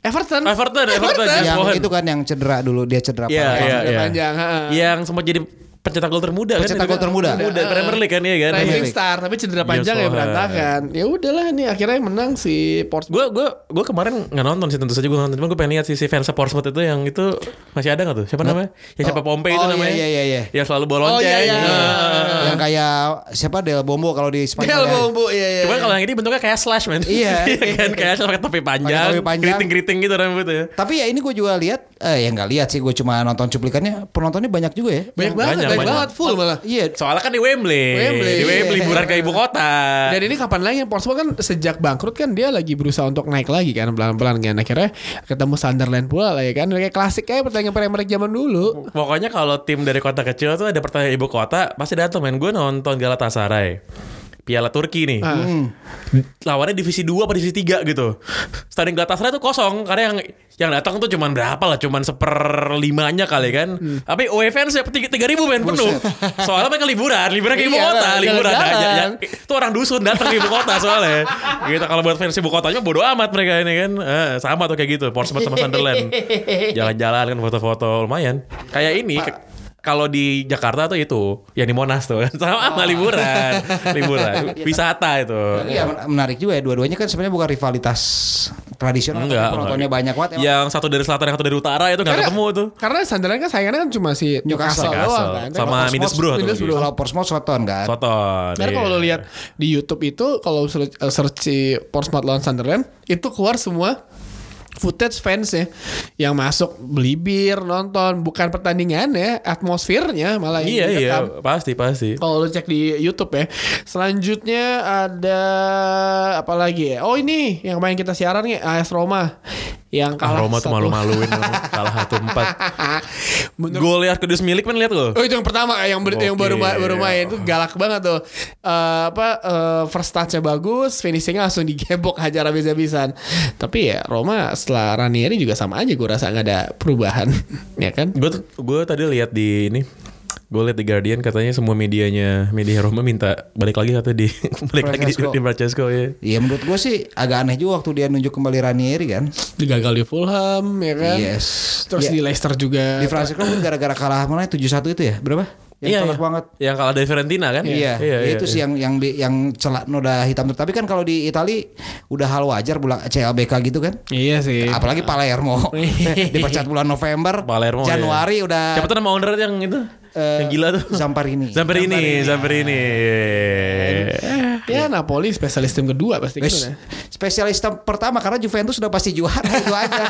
Speaker 1: Everton.
Speaker 2: Everton, Everton, James
Speaker 3: yang
Speaker 2: Bowen.
Speaker 3: itu kan yang cedera dulu dia cedera
Speaker 2: Hmm. Iya,
Speaker 3: parah.
Speaker 2: iya,
Speaker 1: Sudah
Speaker 2: iya.
Speaker 1: panjang, ha.
Speaker 2: Yang sempat jadi pencetak gol termuda
Speaker 3: Pencetak
Speaker 2: kan?
Speaker 3: gol termuda.
Speaker 2: Muda Premier League kan iya kan.
Speaker 1: Rising
Speaker 3: League.
Speaker 1: Star tapi cedera panjang ya
Speaker 2: Bowen.
Speaker 1: berantakan. Ya udahlah nih akhirnya yang menang si Portsmouth.
Speaker 2: Gue gue gue kemarin nggak nonton sih tentu saja gue nonton cuma gue pengen lihat sih si fans Portsmouth itu yang itu masih ada nggak tuh siapa namanya ya siapa Pompei itu
Speaker 3: Oh, iya,
Speaker 2: namanya
Speaker 3: iya, iya, iya.
Speaker 2: yang selalu Nah. bolonce
Speaker 1: Oh, iya, iya.
Speaker 2: Ah.
Speaker 3: Yang kayak siapa Del Bombo kalau di Spanyol.
Speaker 1: Del
Speaker 3: ya.
Speaker 1: Bombo, iya, iya.
Speaker 2: Cuman kalau yang ini bentuknya kayak slash man
Speaker 3: Iya.
Speaker 2: kan Kayak slash pakai topi panjang
Speaker 3: topi panjang.
Speaker 2: Keriting-keriting gitu rambutnya
Speaker 3: Tapi ya ini gue juga lihat, eh ya nggak lihat sih gue cuma nonton cuplikannya. Penontonnya banyak juga ya.
Speaker 1: Banyak banget,
Speaker 2: Banyak,
Speaker 1: banyak,
Speaker 2: banyak.
Speaker 1: banget full malah.
Speaker 3: Iya.
Speaker 2: Soalnya kan di Wembley,
Speaker 1: Wembley.
Speaker 2: Di Wembley Liburan ke ibu kota
Speaker 1: Dan ini kapan lagi Portsmouth kan sejak bangkrut kan dia lagi berusaha untuk naik lagi kan pelan-pelan kan akhirnya ketemu Sunderland pula lah ya kan kayak klasik kayak pertandingan Premier League zaman dulu.
Speaker 2: Pokoknya kalau tim dari kota kecil tuh ada pertandingan ibu kota pasti datang main gue nonton Galatasaray. Piala Turki nih.
Speaker 1: Ah.
Speaker 2: Lawannya divisi 2 apa divisi 3 gitu. Stadion Galatasaray tuh kosong karena yang yang datang tuh cuman berapa lah, cuman seperlimanya kali kan.
Speaker 1: Hmm.
Speaker 2: Tapi away fans ya tiga, tiga ribu men penuh. Soalnya mereka liburan, liburan ke ibu
Speaker 1: Iya,
Speaker 2: kota,
Speaker 1: jalan-jalan.
Speaker 2: liburan aja. Ya, itu orang dusun datang ke ibu kota soalnya. Gitu kalau buat fans ibu kotanya bodo amat mereka ini kan. Eh, sama tuh kayak gitu, Portsmouth sama Sunderland. Jalan-jalan kan foto-foto lumayan. Kayak ini ke- kalau di Jakarta tuh itu yang di Monas tuh kan sama
Speaker 1: Oh.
Speaker 2: sama liburan, liburan, wisata itu.
Speaker 3: Iya men- menarik juga ya dua-duanya kan sebenarnya bukan rivalitas tradisional tapi
Speaker 2: Enggak.
Speaker 3: penontonnya
Speaker 2: enggak.
Speaker 3: banyak banget ya. emang.
Speaker 2: Yang satu dari selatan, yang satu dari utara itu nggak ketemu tuh.
Speaker 1: Karena Sunderland kan sayangannya kan cuma si Newcastle, doang
Speaker 2: Newcastle.
Speaker 1: kan. Kalau
Speaker 2: Sama
Speaker 1: Portsmouth-
Speaker 2: Middlesbrough atau
Speaker 1: Middlesbrough.
Speaker 3: Kalau Portsmouth Soton kan.
Speaker 2: Soton.
Speaker 1: Karena
Speaker 2: iya.
Speaker 1: kalau lo lihat di YouTube itu kalau search, eh, search si Portsmouth lawan Sunderland itu keluar semua footage fans ya yang masuk beli bir nonton bukan pertandingannya atmosfernya malah yang
Speaker 2: Iya iya
Speaker 1: direkam.
Speaker 2: pasti pasti.
Speaker 1: Kalau lu cek di YouTube ya. Selanjutnya ada apa lagi ya? Oh ini yang kemarin kita siaran nih AS Roma yang
Speaker 2: Ah,
Speaker 1: kalah.
Speaker 2: Roma tuh
Speaker 1: satu-
Speaker 2: malu-maluin kalah satu empat.
Speaker 1: Menurut-
Speaker 2: Gol lihat Kudus milik kan lihat lo.
Speaker 1: Oh itu yang pertama yang ber- yang baru
Speaker 2: Gokil.
Speaker 1: baru main itu galak banget tuh. Eh, apa eh, first touch-nya bagus, finishing langsung digebok hajar habis-habisan. Tapi ya Roma setelah Ranieri juga sama aja gue rasa nggak ada perubahan, ya kan?
Speaker 2: Gue gue tadi lihat di ini gue lihat di Guardian katanya semua medianya media Roma minta balik lagi katanya di balik lagi di,
Speaker 3: Francesco.
Speaker 2: di Francesco ya.
Speaker 3: Iya menurut gue sih agak aneh juga waktu dia nunjuk kembali Ranieri kan.
Speaker 1: Gagal di Fulham, ya kan?
Speaker 3: Yes.
Speaker 1: Terus
Speaker 3: Ya,
Speaker 1: di Leicester juga.
Speaker 3: di Francis pun gara-gara kalah mana 7-1 itu ya berapa? Yang
Speaker 2: Iya,
Speaker 3: telak
Speaker 2: iya.
Speaker 3: banget.
Speaker 2: Yang kalah dari Fiorentina kan?
Speaker 3: Iya, ya itu sih yang yang di, yang celak noda hitam. Tapi kan kalau di Itali udah hal wajar bulan CLBK gitu kan.
Speaker 1: Iya sih.
Speaker 3: Apalagi Palermo dipecat bulan November,
Speaker 2: Palermo. ya.
Speaker 3: Januari udah
Speaker 2: Siapa tuh nama owner yang itu?
Speaker 3: eh,
Speaker 2: yang gila tuh.
Speaker 3: Zamperini.
Speaker 2: Zamperini, Zamperini. iya.
Speaker 1: Ya Napoli spesialis tim kedua pasti
Speaker 3: Wes,
Speaker 1: gitu nah.
Speaker 3: spesialis tem- pertama karena Juventus udah pasti juara itu aja.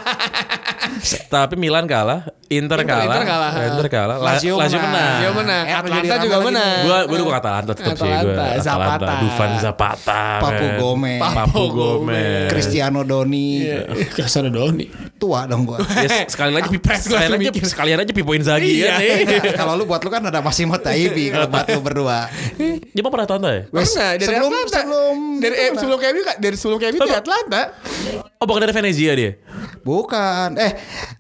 Speaker 2: Tapi Milan kalah, Inter, kalah,
Speaker 1: Inter kalah.
Speaker 2: Inter kalah, La- Lazio, menang.
Speaker 1: Lazio menang.
Speaker 3: Eh, apa jadi
Speaker 1: Atlanta juga
Speaker 3: rame lagi
Speaker 1: menang.
Speaker 3: nih?
Speaker 2: Gua gua dukung Atalanta tetap sih gua.
Speaker 1: Atalanta, Zapata.
Speaker 2: Dufan Zapata.
Speaker 3: Papu
Speaker 2: men.
Speaker 3: Gomez.
Speaker 2: Papu
Speaker 1: Papu
Speaker 2: Gomez.
Speaker 1: Gomez.
Speaker 3: Cristiano Doni
Speaker 1: Eh, Kesana doang nih.
Speaker 3: tua dong gua.
Speaker 2: Ya, sekali lagi pipo,
Speaker 1: Apres gua
Speaker 2: sekalian aja,
Speaker 1: mikir. Iya.
Speaker 2: sekalian aja pipoin Zagi ya.
Speaker 3: Nah, kalau lu buat lu kan ada Massimo Taibi kalau buat lu berdua.
Speaker 2: Dia mau pernah tonton ya?
Speaker 3: Wes,
Speaker 1: Pernah dari
Speaker 3: sebelum-
Speaker 1: Atlanta.
Speaker 3: sebelum
Speaker 1: dari eh,
Speaker 3: itu mana?
Speaker 1: sebelum KMU Kak. dari sebelum KMU di Atlanta.
Speaker 2: Oh bukan dari Venezia dia?
Speaker 3: Bukan. Eh,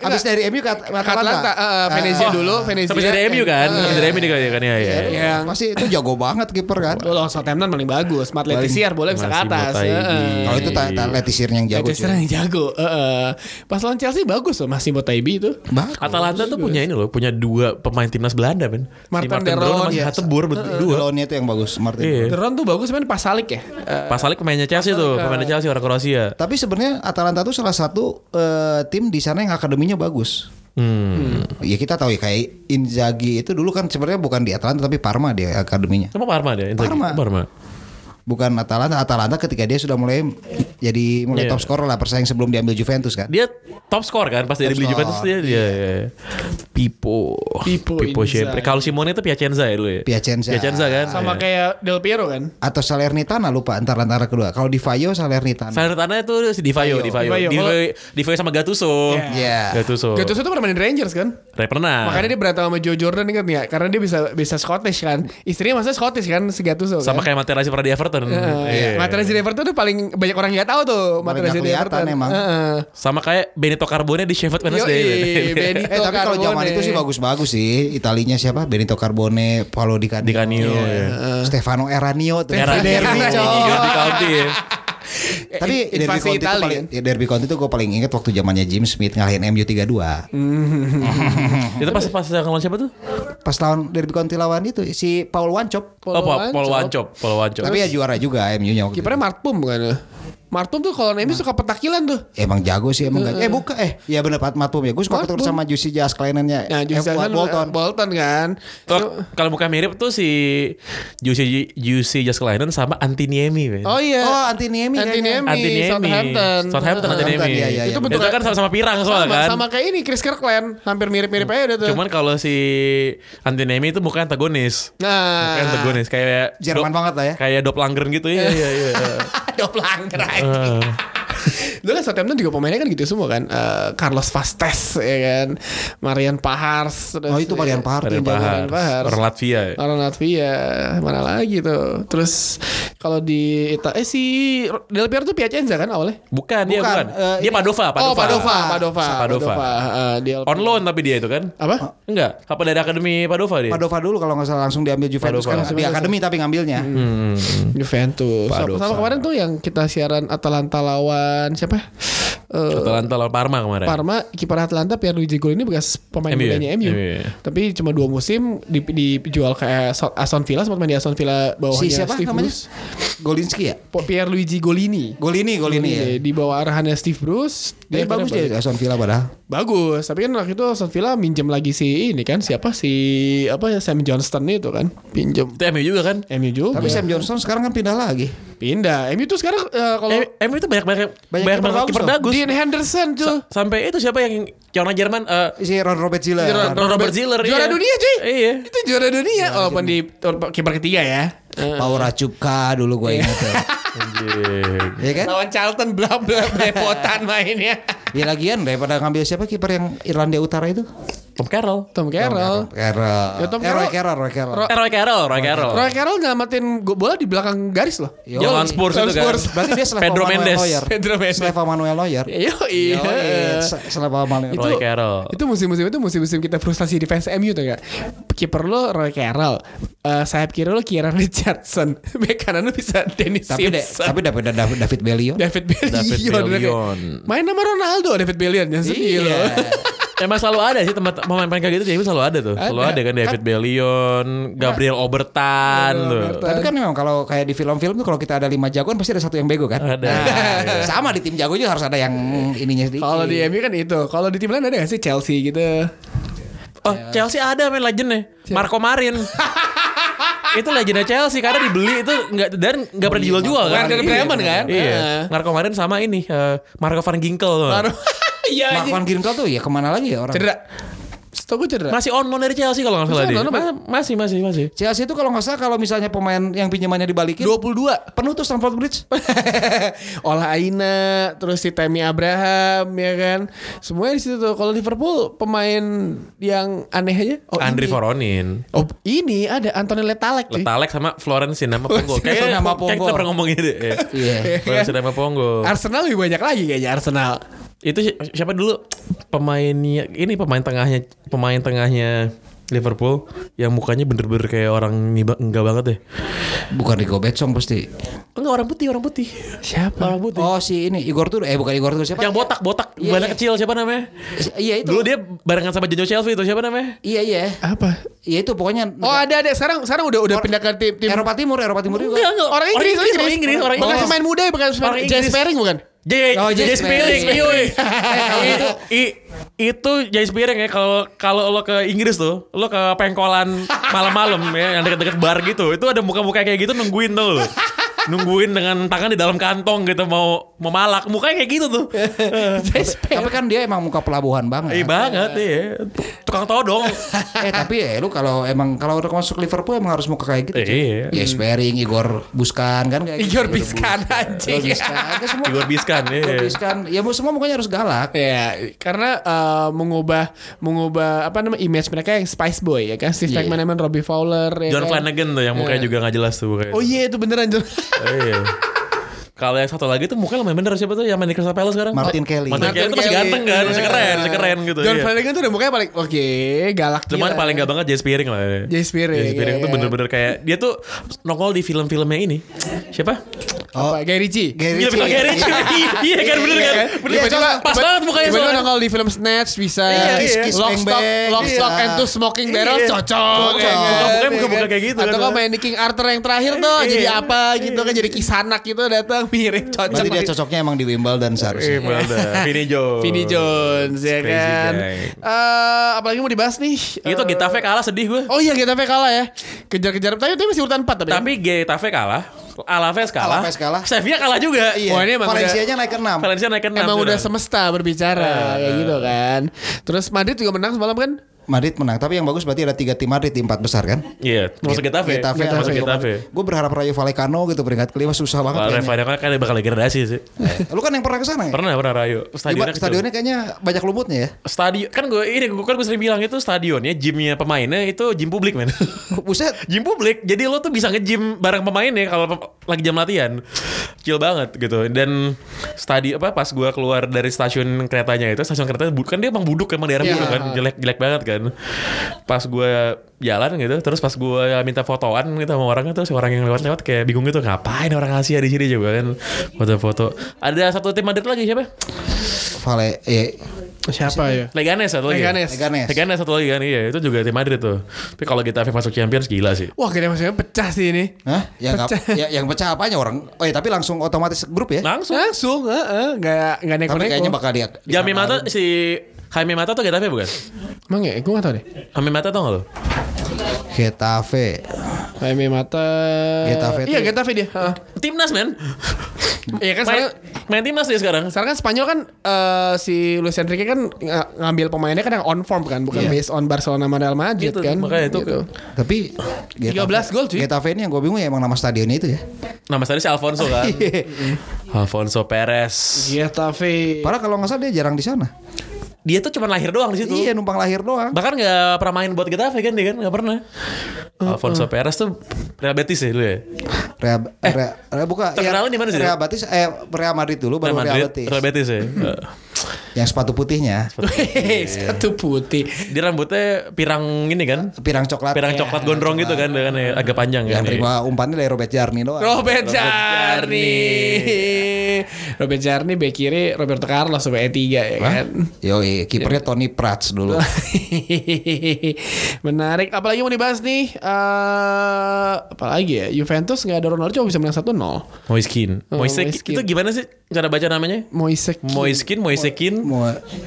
Speaker 3: habis dari MU ke At-
Speaker 1: Atlanta, Atlanta eh, eh,
Speaker 3: Oh,
Speaker 1: Venezia dulu, Venezia. Eh, Iya,
Speaker 2: Sampai dari MU kan? Sampai dari MU dia kan ya, kan ya. ya.
Speaker 1: Yang
Speaker 3: Masih Iya. itu jago banget kiper kan.
Speaker 1: Lo lawan Southampton paling bagus. Matt Letizier boleh bisa ke
Speaker 2: Masih
Speaker 1: atas.
Speaker 2: Motaigi.
Speaker 1: Heeh.
Speaker 3: Kalau itu ta- ta- Letizier yang jago.
Speaker 1: Letizier
Speaker 3: cuy.
Speaker 1: yang jago. Heeh. Pas lawan Chelsea bagus loh masih Motaibi itu.
Speaker 3: Bagus.
Speaker 2: Atalanta tuh punya ini loh, punya dua pemain timnas Belanda men. Si
Speaker 1: Martin Deron,
Speaker 2: sama si
Speaker 1: iya.
Speaker 2: Hatebur
Speaker 3: Dua
Speaker 2: berdua.
Speaker 3: lawannya itu yang bagus Martin.
Speaker 2: Iya.
Speaker 1: Deron tuh bagus cuman pas Salik ya. Eh,
Speaker 2: Pasalik pemainnya Chelsea tuh, pemainnya Chelsea orang Kroasia.
Speaker 3: Tapi sebenarnya Atalanta tuh salah satu eh, tim di sana yang akademinya bagus.
Speaker 2: Hmm.
Speaker 3: Ya kita tahu ya kayak Inzaghi itu dulu kan sebenarnya bukan di Atalanta tapi Parma dia akademinya.
Speaker 2: Sama Parma dia. Inzaghi.
Speaker 3: Parma.
Speaker 2: Parma.
Speaker 3: Bukan Atalanta, Atalanta ketika dia sudah mulai jadi mulai
Speaker 2: Iya.
Speaker 3: top scorer lah persaing sebelum diambil Juventus kan.
Speaker 2: Dia top score kan pas dia
Speaker 3: Top
Speaker 2: dibeli
Speaker 3: score.
Speaker 2: Juventus dia dia iya. Pipo.
Speaker 1: Pipo Inzaghi.
Speaker 2: siempre. Kalau Simone itu Piacenza ya dulu ya.
Speaker 3: Piacenza.
Speaker 2: Piacenza kan.
Speaker 1: Sama
Speaker 2: Iya.
Speaker 1: kayak Del Piero kan?
Speaker 3: Atau Salernitana lupa antara antara kedua. Kalau di Fayo Salernitana.
Speaker 2: Salernitana Kan itu si Divayo, Divayo.
Speaker 1: Di Vaio.
Speaker 2: Divayo, Divayo sama Gattuso.
Speaker 1: Oh. Iya.
Speaker 3: Iya.
Speaker 2: Gattuso.
Speaker 1: Gattuso tuh pernah main di Rangers kan?
Speaker 2: Ray pernah.
Speaker 1: Makanya dia berantem sama Joe Jordan ingat nggak? Karena dia bisa bisa Scottish kan. Istrinya masa Scottish kan si Gattuso
Speaker 2: sama
Speaker 1: kan?
Speaker 2: kayak Materazzi pernah di Everton. Iya.
Speaker 1: Iya. Materazzi di Everton tuh paling banyak orang nggak tahu tuh
Speaker 3: Malah
Speaker 1: Materazzi
Speaker 3: nggak
Speaker 1: di
Speaker 3: kelihatan
Speaker 1: Everton.
Speaker 3: emang.
Speaker 1: Heeh.
Speaker 2: Sama kayak Benito Carbone di Sheffield Wednesday. Iya.
Speaker 1: Yoi, Benito
Speaker 3: Eh tapi kalau zaman
Speaker 1: Carbone.
Speaker 3: itu sih bagus-bagus sih. Italinya siapa? Benito Carbone, Paolo Di Canio.
Speaker 2: Di Canio, iya.
Speaker 3: Stefano Eranio tuh. Iya,
Speaker 2: Era
Speaker 1: Derby,
Speaker 2: Derby,
Speaker 1: coy.
Speaker 2: Derby County. ya.
Speaker 1: Eh,
Speaker 3: Tapi derby
Speaker 1: invasi
Speaker 3: county itu
Speaker 1: Itali
Speaker 3: paling
Speaker 1: kan?
Speaker 3: ya, derby county itu gue paling inget waktu zamannya Jim Smith ngalahin MU 3-2.
Speaker 2: Itu pas pas ngelawan siapa tuh?
Speaker 3: Pas lawan derby county lawan itu si Paul Wancop.
Speaker 2: Oh, Pa- Paul Wancop, Paul Wancop.
Speaker 3: Tapi ya juara juga MU-nya waktu itu.
Speaker 1: Kipernya Martpum bukan? Martpum tuh kalau nembus suka petakilan tuh.
Speaker 3: Emang jago sih emang gak- Eh buka eh ya bener Pat Matum ya. Gue suka
Speaker 1: Matum.
Speaker 3: ketemu sama Juicy Jas klienannya.
Speaker 1: Nah,
Speaker 3: eh,
Speaker 1: justru kan
Speaker 3: Bolton.
Speaker 1: Bolton kan.
Speaker 2: Tuh, kalau muka mirip tuh si Juicy Juicy Just Kelainan sama Antiniemi. men.
Speaker 1: Oh iya.
Speaker 3: Oh, Antiniemi kayaknya.
Speaker 1: Antiniemi, Southampton.
Speaker 2: Southampton
Speaker 1: Heeh.
Speaker 2: Antiniemi.
Speaker 3: Southampton,
Speaker 1: Itu
Speaker 3: iya, iya,
Speaker 2: Itu
Speaker 1: iya. bentuk-
Speaker 2: bentuknya kan sama-sama pirang soalnya
Speaker 1: sama,
Speaker 2: kan. Hmm.
Speaker 1: sama kayak ini Chris Kirkland hampir mirip-mirip aja udah tuh.
Speaker 2: Cuman kalau si Antinemi itu bukan antagonis. Bukan
Speaker 1: nah,
Speaker 2: antagonis kayak
Speaker 3: Jerman banget lah ya.
Speaker 2: Kayak Doppelganger gitu ya. Iya iya.
Speaker 1: Doppelganger aja.
Speaker 2: Eh,
Speaker 1: Dulu kan Southampton juga pemainnya kan gitu semua kan. Eh, Carlos Vastes ya kan. Marian Pahars. terus-
Speaker 3: Oh itu Marian Pahar
Speaker 2: Dari
Speaker 3: yang jago.
Speaker 2: Bahar.
Speaker 1: Bahar.
Speaker 2: Orang Latvia. ya.
Speaker 1: Orang Latvia mana lagi tuh. Terus kalau di Ita eh si Del Piero tuh Piacenza kan awalnya.
Speaker 2: Bukan, dia
Speaker 3: Bukan,
Speaker 2: bukan.
Speaker 3: eh,
Speaker 2: dia
Speaker 3: ini-
Speaker 2: Padova, Padova.
Speaker 1: Oh Padova, Padova,
Speaker 2: Padova.
Speaker 1: Eh, dia
Speaker 2: On loan tapi dia itu kan?
Speaker 1: apa?
Speaker 3: Ah.
Speaker 2: Enggak, apa dari akademi Padova dia?
Speaker 3: Padova dulu kalau nggak salah langsung diambil Juventus
Speaker 2: Padova.
Speaker 3: kan di akademi tapi ngambilnya.
Speaker 1: Juventus. Sama,
Speaker 2: Padova.
Speaker 1: sama kemarin tuh yang kita siaran Atalanta lawan siapa? Eh,
Speaker 2: Atalanta lawan Parma kemarin.
Speaker 1: Parma kiper Atlanta Pierluigi Golini bekas pemain
Speaker 2: MU,
Speaker 1: mudanya MU.
Speaker 2: MU.
Speaker 1: Tapi cuma dua musim di, dijual ke Aston- Aston Villa sempat main di Aston Villa bawahnya
Speaker 3: Si
Speaker 1: Oh,
Speaker 3: siapa
Speaker 1: iya, Steve
Speaker 3: namanya?
Speaker 1: Bruce.
Speaker 3: Golinski ya?
Speaker 1: Po- Pierluigi Golini.
Speaker 3: Golini, Golini ya.
Speaker 1: Di bawah arahannya Steve Bruce.
Speaker 3: Tapi bagus
Speaker 1: akhirnya
Speaker 3: dia ya? Aston Villa padahal.
Speaker 1: Iya. Bagus, tapi kan waktu itu Aston Villa minjem lagi si ini kan siapa si apa ya Sam Johnston itu kan pinjem
Speaker 2: Itu MU juga kan?
Speaker 1: MU juga.
Speaker 3: Tapi Sam Johnson sekarang kan pindah lagi.
Speaker 1: pindah. MU tuh sekarang eh, kalau
Speaker 2: Eh, MU itu banyak banyak
Speaker 3: Banyak
Speaker 2: banyak,
Speaker 3: kiper
Speaker 2: banget
Speaker 3: bagus
Speaker 2: kiper
Speaker 3: loh.
Speaker 2: bagus.
Speaker 1: Dean Henderson tuh.
Speaker 2: Sa- sampai itu siapa yang Kiona Jerman eh
Speaker 3: Si Ron Robert Ziller.
Speaker 1: Juara-
Speaker 2: Robert Ziller,
Speaker 1: Juara
Speaker 2: iya.
Speaker 1: dunia cuy
Speaker 2: Iya.
Speaker 1: Itu juara dunia Walaupun di tur- kiper ketiga ya
Speaker 3: Paul Racupka dulu gue ingat ya. Iya kan?
Speaker 1: Lawan Charlton bla bla belepotan mainnya
Speaker 3: Ya lagian daripada ngambil siapa kiper yang Irlandia Utara itu?
Speaker 2: Tom Carroll.
Speaker 1: Tom Carroll
Speaker 3: Carroll.
Speaker 1: Ya,
Speaker 3: Eh,
Speaker 1: Tom
Speaker 3: Roy
Speaker 1: Carroll.
Speaker 3: Carroll, Roy Carroll.
Speaker 1: Ro-
Speaker 2: Eh, Roy Carroll, Roy
Speaker 3: Oh.
Speaker 2: Carroll.
Speaker 1: Roy Carroll nyelamatin go- bola di belakang garis loh
Speaker 3: Yo. eh,
Speaker 2: Yang lawan Spurs
Speaker 1: Lawan
Speaker 2: itu kan.
Speaker 1: Spurs.
Speaker 3: Berarti dia selevel
Speaker 2: Pedro
Speaker 3: Manuel
Speaker 2: Mendes.
Speaker 3: Neuer.
Speaker 1: Pedro Mendes.
Speaker 3: Selevel Manuel Neuer.
Speaker 1: Yo
Speaker 3: Yo,
Speaker 1: iya
Speaker 3: it's Selevel Manuel
Speaker 2: Roy Carroll.
Speaker 1: itu musim-musim itu musim-musim kita frustasi di fans MU tuh gak kiper lo Roy Carroll eh, sayap kiri lo Kieran Richardson bek kanan lo bisa Dennis
Speaker 3: Tapi de,
Speaker 1: Simpson
Speaker 3: tapi David David, David Bellio.
Speaker 1: David Bellion
Speaker 2: David Bellion.
Speaker 1: main nama Ronaldo David Bellion yang sedih
Speaker 3: Iya.
Speaker 1: loh
Speaker 2: Emang selalu ada sih tempat pemain-pemain kayak gitu jadi selalu ada tuh. Selalu
Speaker 1: Ada.
Speaker 2: ada kan David Bellion, Gabriel Obertan tuh.
Speaker 3: Tapi kan memang kalau kayak di film-film tuh kalau kita ada lima jagoan pasti ada satu yang bego kan?
Speaker 2: Ada.
Speaker 3: Nah, sama di tim jago juga harus ada yang ininya sedikit.
Speaker 1: Kalau di MU kan itu. Kalau di tim lain ada gak sih Chelsea gitu?
Speaker 2: Oh, Chelsea ada main legendnya. Marco Marin. itu legendnya Chelsea karena dibeli itu nggak dan nggak pernah dijual-jual kan.
Speaker 1: Werder
Speaker 2: Iya.
Speaker 1: Bremen kan?
Speaker 2: Iya.
Speaker 1: Heeh.
Speaker 2: Marco Marin sama ini eh, Marco van Ginkel. tuh.
Speaker 1: Baru Iya
Speaker 3: Mark
Speaker 1: anjing.
Speaker 3: Van Ginkel tuh ya kemana lagi ya orang?
Speaker 1: Cedera. Setahu gue cedera.
Speaker 2: Masih on loan dari Chelsea kalau nggak salah
Speaker 1: Masih
Speaker 2: dia.
Speaker 1: on loan apa?
Speaker 2: Ma- masih masih masih.
Speaker 3: Chelsea itu kalau nggak salah kalau misalnya pemain yang pinjamannya dibalikin
Speaker 1: 22
Speaker 3: penuh tuh Stamford Bridge.
Speaker 1: Olah Aina Terus si Tammy Abraham Ya kan Semuanya di situ tuh Kalau Liverpool Pemain yang aneh aja oh,
Speaker 2: Andri
Speaker 1: ini.
Speaker 2: Voronin.
Speaker 1: Oh ini ada Anthony Letalek cuy
Speaker 2: Letalek sama Florence Sinama Pongo. Kayaknya
Speaker 3: Sinama
Speaker 2: kayak kita
Speaker 3: Pongo.
Speaker 2: pernah ngomongin itu. Iya.
Speaker 3: Iya.
Speaker 2: Florence Sinama Pongo.
Speaker 1: Arsenal lebih banyak lagi kayaknya Arsenal
Speaker 2: Itu si- siapa dulu pemainnya ini pemain tengahnya pemain tengahnya Liverpool yang mukanya bener-bener kayak orang niba, enggak banget deh.
Speaker 3: Bukan Rico Betsong pasti.
Speaker 2: Enggak orang putih, orang putih.
Speaker 1: Siapa?
Speaker 2: Orang putih.
Speaker 3: Oh si ini Igor tuh eh bukan Igor tuh siapa?
Speaker 2: yang botak, botak,
Speaker 3: Iya,
Speaker 2: badannya
Speaker 3: iya.
Speaker 2: kecil siapa namanya?
Speaker 3: Iya itu.
Speaker 2: Dulu dia barengan sama Jojo Shelby itu siapa namanya?
Speaker 3: Iya iya.
Speaker 1: Apa?
Speaker 3: Iya itu pokoknya
Speaker 1: Oh ada ada sekarang sekarang udah udah
Speaker 3: Or-
Speaker 1: pindah ke tim tim
Speaker 3: Eropa Timur, Eropa Timur juga.
Speaker 2: Enggak, enggak.
Speaker 1: orang Inggris
Speaker 2: orang Inggris, orang Inggris, orang
Speaker 1: Bekas
Speaker 2: Inggris.
Speaker 1: pemain muda ya bekas pemain
Speaker 2: Orang
Speaker 1: Jay
Speaker 2: Inggris.
Speaker 1: Sparing bukan?
Speaker 2: Jay,
Speaker 3: Oh, Jay
Speaker 2: Jay, Spiring,
Speaker 3: Spiring.
Speaker 2: yoi. itu, i, itu Jay Spiring ya kalau kalau lo ke Inggris tuh, lo ke pengkolan malam-malam ya yang deket-deket bar gitu, itu ada muka-muka kayak gitu nungguin tuh lo. nungguin dengan tangan di dalam kantong gitu mau memalak mukanya kayak gitu tuh
Speaker 3: Tapi kan dia emang muka pelabuhan banget.
Speaker 2: eh banget ya tukang todong
Speaker 3: eh tapi ya lu kalau emang kalau udah masuk Liverpool emang harus muka kayak gitu.
Speaker 2: Eh,
Speaker 3: Cuk.
Speaker 2: iya.
Speaker 3: Ya Spering, Igor Buskan kan kayak
Speaker 1: Igor
Speaker 3: gitu.
Speaker 1: Biskan
Speaker 3: Igor
Speaker 1: anjing.
Speaker 3: Biskan. Kan semua-
Speaker 2: Igor Biskan
Speaker 3: Igor
Speaker 2: iya.
Speaker 3: Biskan. Ya mu- semua mukanya harus galak.
Speaker 1: Ya, karena eh, mengubah mengubah apa namanya image mereka yang Spice Boy ya kan Steve
Speaker 3: Iya.
Speaker 1: McManaman, Robbie Fowler ya
Speaker 2: John
Speaker 1: kan?
Speaker 2: Flanagan tuh yang mukanya juga nggak jelas tuh mukanya.
Speaker 1: Oh iya itu beneran John.
Speaker 2: Eh, iya. Kalau yang satu lagi tuh mukanya lumayan bener siapa tuh yang main di Crystal Palace sekarang?
Speaker 3: Martin Kelly.
Speaker 2: Martin Kelly tuh masih ganteng kan, masih keren, masih keren gitu.
Speaker 1: John
Speaker 2: iya.
Speaker 1: Flanagan tuh udah mukanya paling oke, galak
Speaker 2: Cuman
Speaker 1: gila.
Speaker 2: paling gak banget Jay Spiring lah. iya.
Speaker 1: Jay Spiring,
Speaker 2: Jay Spiring
Speaker 1: iya,
Speaker 2: tuh
Speaker 1: iya.
Speaker 2: bener-bener kayak dia tuh nongol di film-filmnya ini. Siapa?
Speaker 3: Oh,
Speaker 1: apa Guy Ritchie.
Speaker 3: Gary
Speaker 2: Iya, bukan
Speaker 3: Ritchie.
Speaker 2: Gary Ritchie. Iya kan bener kan? Bener
Speaker 1: Iya,
Speaker 2: bener.
Speaker 1: coba-
Speaker 2: Pas
Speaker 1: tiba-
Speaker 2: banget mukanya
Speaker 1: tiba-tiba
Speaker 2: soalnya.
Speaker 1: nongol di film Snatch bisa.
Speaker 2: Iya,
Speaker 1: Kiss,
Speaker 2: iya.
Speaker 1: kiss, Lock
Speaker 3: Bang
Speaker 1: Stock,
Speaker 3: Bang.
Speaker 1: Lock
Speaker 3: Iya.
Speaker 1: Stock and Two Smoking Barrels
Speaker 2: Iya.
Speaker 1: cocok.
Speaker 2: Cocok. Mukanya buka-buka kayak gitu
Speaker 1: Atau
Speaker 2: kan.
Speaker 1: kan main di King Arthur yang terakhir tuh
Speaker 2: Iya.
Speaker 1: jadi apa gitu kan jadi kisanak gitu datang mirip cocok.
Speaker 3: Berarti dia cocoknya emang di Wimbledon
Speaker 2: Eh,
Speaker 3: seharusnya.
Speaker 2: bener. Vinny Jones.
Speaker 1: Vinny Jones ya
Speaker 2: Crazy
Speaker 1: kan.
Speaker 2: guy.
Speaker 1: Eh, apalagi mau dibahas nih.
Speaker 2: Iya, Itu
Speaker 1: Eh,
Speaker 2: Getafe kalah sedih gue.
Speaker 1: Oh iya Getafe kalah ya. Kejar-kejar tapi tapi masih urutan 4 tapi. ya?
Speaker 2: Tapi Getafe kalah. Alaves kalah.
Speaker 3: Alaves kalah.
Speaker 2: Sevilla kalah juga.
Speaker 1: Wah, ini emang
Speaker 3: Valencia-nya naik ke 6.
Speaker 2: Valencia naik ke enam
Speaker 1: kan? Emang
Speaker 2: sekarang.
Speaker 1: udah semesta berbicara kayak gitu kan. Terus Madrid juga menang semalam kan?
Speaker 3: Madrid menang, tapi yang bagus berarti ada tiga tim Madrid di empat besar kan?
Speaker 2: Iya, masuk Getafe.
Speaker 3: Getafe,
Speaker 2: Masuk Getafe.
Speaker 3: Gue berharap Rayo Vallecano gitu peringkat kelima susah banget.
Speaker 2: Kalau
Speaker 3: kayaknya.
Speaker 2: Rayo kan kan dia bakal degradasi sih.
Speaker 3: Lu kan yang pernah kesana ya?
Speaker 2: Pernah pernah Rayo. Stadionnya
Speaker 3: Stadionnya,
Speaker 2: kecil.
Speaker 3: stadionnya kayaknya banyak lumutnya ya.
Speaker 2: stadion kan gue ini gue kan gue sering bilang itu stadionnya gymnya pemainnya itu gym publik men
Speaker 3: Buset.
Speaker 2: gym publik jadi lo tuh bisa nge-gym bareng pemainnya kalau pe- lagi jam latihan chill banget gitu dan stadion apa pas gue keluar dari stasiun keretanya itu stasiun kereta bu- kan dia emang buduk emang daerah buduk kan jelek jelek banget kan pas gue jalan gitu terus pas gue minta fotoan gitu sama orangnya terus orang yang lewat-lewat kayak bingung gitu ngapain orang Asia di sini juga kan foto-foto ada satu tim Madrid lagi siapa
Speaker 3: Vale, eh,
Speaker 1: Siapa ya?
Speaker 2: Leganes satu lagi.
Speaker 1: Leganes.
Speaker 3: Leganes.
Speaker 2: Leganes satu lagi kan iya itu juga tim Madrid tuh. Tapi kalau kita masuk Champions gila sih.
Speaker 1: Wah, kira maksudnya pecah sih ini.
Speaker 3: Hah? Ya, nggak-
Speaker 1: Pecah.
Speaker 3: ya, yang pecah apanya orang? Oh ya, tapi langsung otomatis grup ya.
Speaker 2: Langsung.
Speaker 1: Langsung, heeh, enggak enggak
Speaker 3: tapi
Speaker 1: neko-neko.
Speaker 3: kayaknya bakal dia.
Speaker 2: Jami Mata si Jaime Mata tuh Getafe bukan?
Speaker 1: Emang ya, gue gak tau deh.
Speaker 2: Jaime Mata tau gak lo?
Speaker 3: Getafe.
Speaker 1: Jaime Mata.
Speaker 3: Getafe
Speaker 1: Iya,
Speaker 3: tuh- ya?
Speaker 1: Getafe dia. heeh.
Speaker 2: Timnas men.
Speaker 1: Iya kan
Speaker 2: main,
Speaker 1: sekarang
Speaker 2: main timnas dia sekarang.
Speaker 1: sekarang kan Spanyol kan eh, si Luis Enrique kan ng- ngambil pemainnya kan yang on form kan, bukan
Speaker 3: Iya.
Speaker 1: based on Barcelona sama Real Madrid
Speaker 2: Gitu,
Speaker 1: kan.
Speaker 2: makanya itu
Speaker 1: Gitu.
Speaker 3: Tapi
Speaker 1: 13 gol, cuy.
Speaker 3: Getafe ini yang gue bingung ya emang nama stadionnya itu ya.
Speaker 2: Nama tadi si Alfonso kan. Alfonso Perez. Iya.
Speaker 1: Getafe.
Speaker 3: Padahal kalau nggak salah dia jarang di sana.
Speaker 2: Dia tuh cuma lahir doang di situ.
Speaker 3: Iya numpang lahir doang.
Speaker 2: Bahkan gak pernah main buat Getafe kan dia kan gak pernah. Alfonso Perez tuh Real Betis ya dulu ya.
Speaker 3: Real, Real, Real- buka.
Speaker 2: terkenalnya
Speaker 3: ya,
Speaker 2: Eh, di mana sih?
Speaker 3: Real Betis, eh Real Madrid dulu
Speaker 2: Real
Speaker 3: baru Real
Speaker 2: Madrid,
Speaker 3: Betis.
Speaker 2: Real Betis ya.
Speaker 3: Yang sepatu putihnya,
Speaker 1: Wih, Satu putih.
Speaker 2: dia rambutnya pirang ini kan.
Speaker 3: pirang coklat.
Speaker 2: Pirang
Speaker 3: Ya.
Speaker 2: coklat gondrong gitu kan, kan ya, agak panjang
Speaker 3: Yang
Speaker 2: kan. ya.
Speaker 3: terima umpannya dari Robert Jarni doang.
Speaker 1: Robert Jarni.
Speaker 2: Jarni.
Speaker 1: Robert Jarni bek kiri Roberto Carlos sampai E3 ya kan.
Speaker 3: Yoi, kipernya Tony Prats dulu.
Speaker 2: Iya.
Speaker 1: Menarik. Apalagi mau dibahas nih? Eh, apalagi ya? Juventus nggak ada Ronaldo cuma bisa menang 1-0.
Speaker 2: Moiskin.
Speaker 1: Oh,
Speaker 2: Moiskin.
Speaker 1: Moiskin.
Speaker 2: Itu gimana sih cara baca namanya?
Speaker 1: Moisek.
Speaker 2: Moiskin, Moisekin.
Speaker 3: Mau,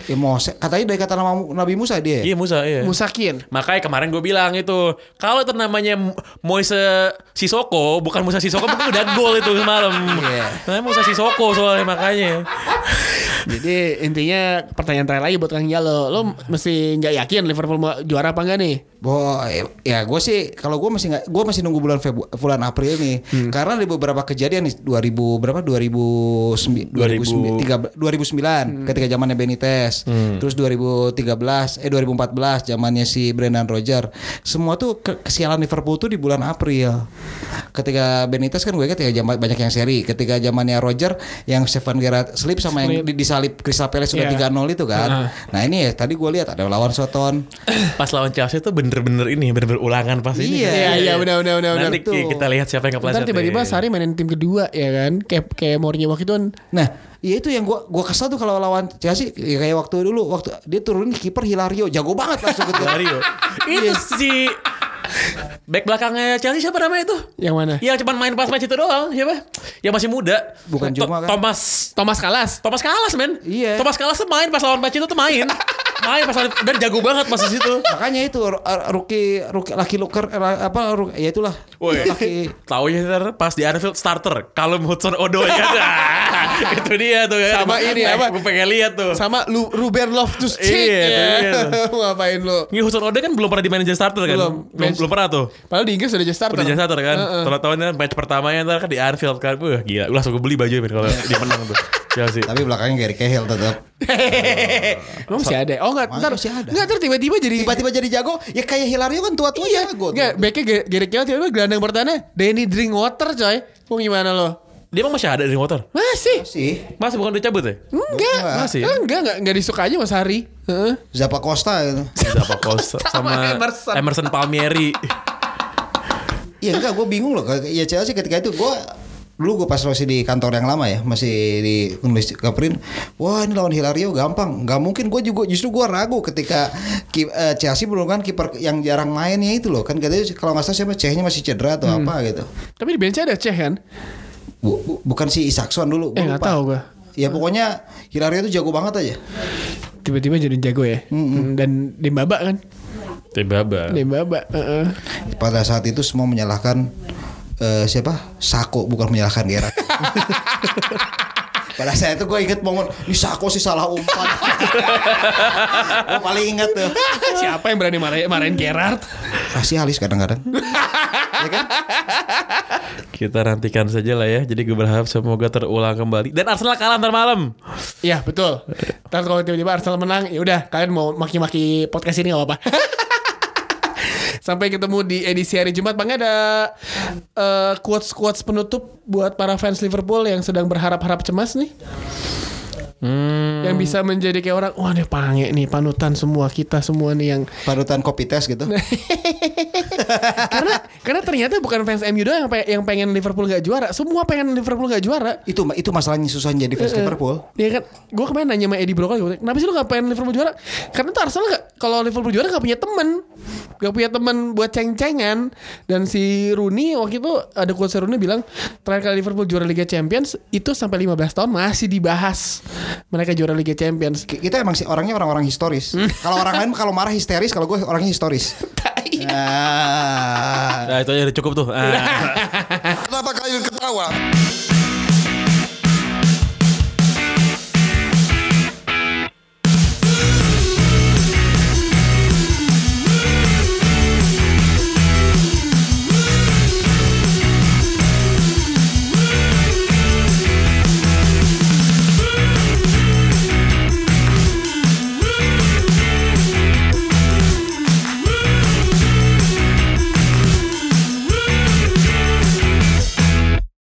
Speaker 3: ya mau se- katanya dari kata nama Mu- Nabi Musa dia. ya?
Speaker 2: Iya Musa, iya.
Speaker 1: Musakin.
Speaker 2: Makanya kemarin gue bilang itu kalau itu namanya Mo- Moise Sisoko bukan Musa Sisoko mungkin udah gol itu semalam.
Speaker 3: Iya.
Speaker 2: Namanya Musa Sisoko soalnya makanya.
Speaker 1: Jadi intinya pertanyaan terakhir lagi buat Kang Jalo. Lo mesti nggak yakin Liverpool mau juara apa enggak nih?
Speaker 3: Boy, ya gue sih kalau gue masih nggak, gue masih nunggu bulan Febu, bulan April nih, karena ada beberapa kejadian nih 2000 berapa 2009, 2009, 2009 ketika zamannya Benitez, terus 2013, eh 2014 zamannya si Brendan Roger, semua tuh ke- kesialan Liverpool tuh di bulan April. Ketika Benitez kan gue ingat ya zaman banyak yang seri, ketika zamannya Roger yang Stefan Gerrard slip sama yang di- disalip Crystal Palace sudah
Speaker 1: Iya.
Speaker 3: 3-0 itu kan. Nah ini ya tadi gue lihat ada lawan Soton.
Speaker 2: Pas lawan Chelsea itu bener-bener ini bener-bener ulangan pas ini.
Speaker 3: Iya,
Speaker 1: Iya, iya, benar, benar, benar,
Speaker 2: Nanti
Speaker 3: benar, betul.
Speaker 2: kita lihat siapa yang kepleset.
Speaker 1: Ntar tiba-tiba
Speaker 2: nih.
Speaker 1: Sari mainin tim kedua ya kan? Kayak kayak Mourinho waktu itu kan.
Speaker 3: Nah, ya itu yang gua gua kesel tuh kalau lawan Chelsea ya kayak waktu dulu waktu dia turunin kiper Hilario jago banget langsung gitu.
Speaker 2: Dario.
Speaker 1: Iya.
Speaker 2: itu si back belakangnya Chelsea siapa namanya itu?
Speaker 1: Yang mana?
Speaker 2: Yang cuma Eh. Ya, main pas match itu doang, siapa? Yang masih muda.
Speaker 3: Bukan
Speaker 2: To-
Speaker 3: Juma kan?
Speaker 2: Thomas
Speaker 1: Thomas Kalas.
Speaker 2: Thomas Kalas men
Speaker 3: Iya.
Speaker 2: Thomas Kalas tuh main Pas lawan Paci itu tuh main main pas dan jago banget pas di situ.
Speaker 3: Makanya itu ru- er, rookie rookie laki luker apa ru- ya itulah.
Speaker 2: Woi,
Speaker 3: Laki
Speaker 2: taunya ntar ya, pas di Anfield starter, Callum Hudson Odoi kan. Ah, itu dia tuh kan.
Speaker 1: Sama ini, apa?
Speaker 2: Gue pengen lihat tuh.
Speaker 1: Sama lu, Ruben Loftus Cheek
Speaker 2: Iya, iya.
Speaker 1: Ngapain lu?
Speaker 2: Ini Hudson Odoi kan belum pernah di manajer starter kan?
Speaker 1: Belum.
Speaker 2: Belum, belum, pernah tuh.
Speaker 1: Padahal di Inggris udah jadi starter.
Speaker 2: Udah jadi starter kan.
Speaker 1: Heeh.
Speaker 2: Tahun tahunnya match pertamanya ntar kan di Anfield kan. Wah, gila. Gue langsung beli baju men kalau dia menang tuh. Chelsea.
Speaker 3: Tapi belakangnya Gary Cahill tetap.
Speaker 1: Emang masih ada. ya? Oh enggak,
Speaker 3: Mana
Speaker 1: ntar
Speaker 3: masih ada?
Speaker 1: Enggak, ntar tiba-tiba jadi
Speaker 3: Tiba-tiba jadi jago, ya kayak Hilario kan tua-tua
Speaker 1: Iya,
Speaker 3: jago. tuh.
Speaker 1: enggak backnya Ger- Gareth Bale tiba-tiba ya. gelandang bertahannya Danny Drinkwater coy. Mau gimana lo?
Speaker 2: Dia emang masih ada di motor.
Speaker 1: Masih?
Speaker 3: Sih.
Speaker 2: Masih bukan udah cabut ya?
Speaker 1: Enggak.
Speaker 2: Masih.
Speaker 1: Eh, Enggak, enggak, enggak disuka aja Mas Hari. Heeh.
Speaker 3: Zappa Costa gitu.
Speaker 2: Zapa Costa sama
Speaker 1: Emerson.
Speaker 2: Emerson, Palmieri.
Speaker 3: Iya enggak, gue bingung loh. Ya Chelsea ketika itu gue dulu gue pas masih di kantor yang lama ya masih di nulis kaperin wah ini lawan Hilario gampang nggak mungkin gue juga justru gue ragu ketika ki, eh, Chelsea belum kan kiper yang jarang mainnya itu loh kan katanya kalau nggak salah siapa Cehnya masih cedera atau
Speaker 1: Hmm.
Speaker 3: apa gitu
Speaker 1: Tapi di bench ada Ceh kan?
Speaker 3: Bu- bu- bukan si Isakson dulu
Speaker 1: Eh, nggak
Speaker 3: gua lupa.
Speaker 1: tahu gua.
Speaker 3: ya pokoknya Hilario itu jago banget aja
Speaker 1: Tiba-tiba jadi jago ya. Hmm, Dan Dembaba kan?
Speaker 2: Tiba-tiba.
Speaker 1: Dembaba. Heeh.
Speaker 3: pada saat itu semua menyalahkan eh, siapa Sako bukan menyalahkan Gerard pada saat itu gue inget momen ini Sako sih salah umpan gue paling inget tuh
Speaker 1: Siapa yang berani marahin, marahin Gerard?
Speaker 3: rasialis kadang-kadang
Speaker 2: Kita nantikan saja lah ya. Jadi gue berharap semoga terulang kembali. Dan Arsenal kalah ntar malam.
Speaker 1: Iya betul. Ntar kalau tiba-tiba Arsenal menang, ya udah kalian mau maki-maki podcast ini gak apa-apa. Sampai ketemu di edisi hari Jumat. Bang ada eh, quotes-quotes penutup buat para fans Liverpool yang sedang berharap-harap cemas nih. Yang bisa menjadi kayak orang, wah nih pange nih panutan semua kita semua nih yang
Speaker 3: parutan kopi tes gitu
Speaker 1: karena karena ternyata bukan fans MU doang yang, pe- yang pengen Liverpool gak juara, semua pengen Liverpool gak juara.
Speaker 3: itu itu masalahnya susah jadi fans Liverpool
Speaker 1: Iya kan, gue kemarin nanya sama Eddie Brokoli, gua tanya, kenapa sih lu gak pengen Liverpool juara? Karena tuh Arsenal gak, kalau Liverpool juara gak punya temen. Gak punya temen buat ceng-cengan. Dan si Rooney waktu itu ada quotes Rooney bilang, terakhir kali Liverpool juara Liga Champions, itu sampai 15 tahun masih dibahas. Mereka juara Liga Champions.
Speaker 3: Ki- kita emang sih orangnya orang-orang historis kalau orang lain kalau marah histeris kalau gue orangnya historis Nah. Ah.
Speaker 2: Nah itu aja udah cukup tuh. Ah.
Speaker 4: Kenapa kalian ketawa?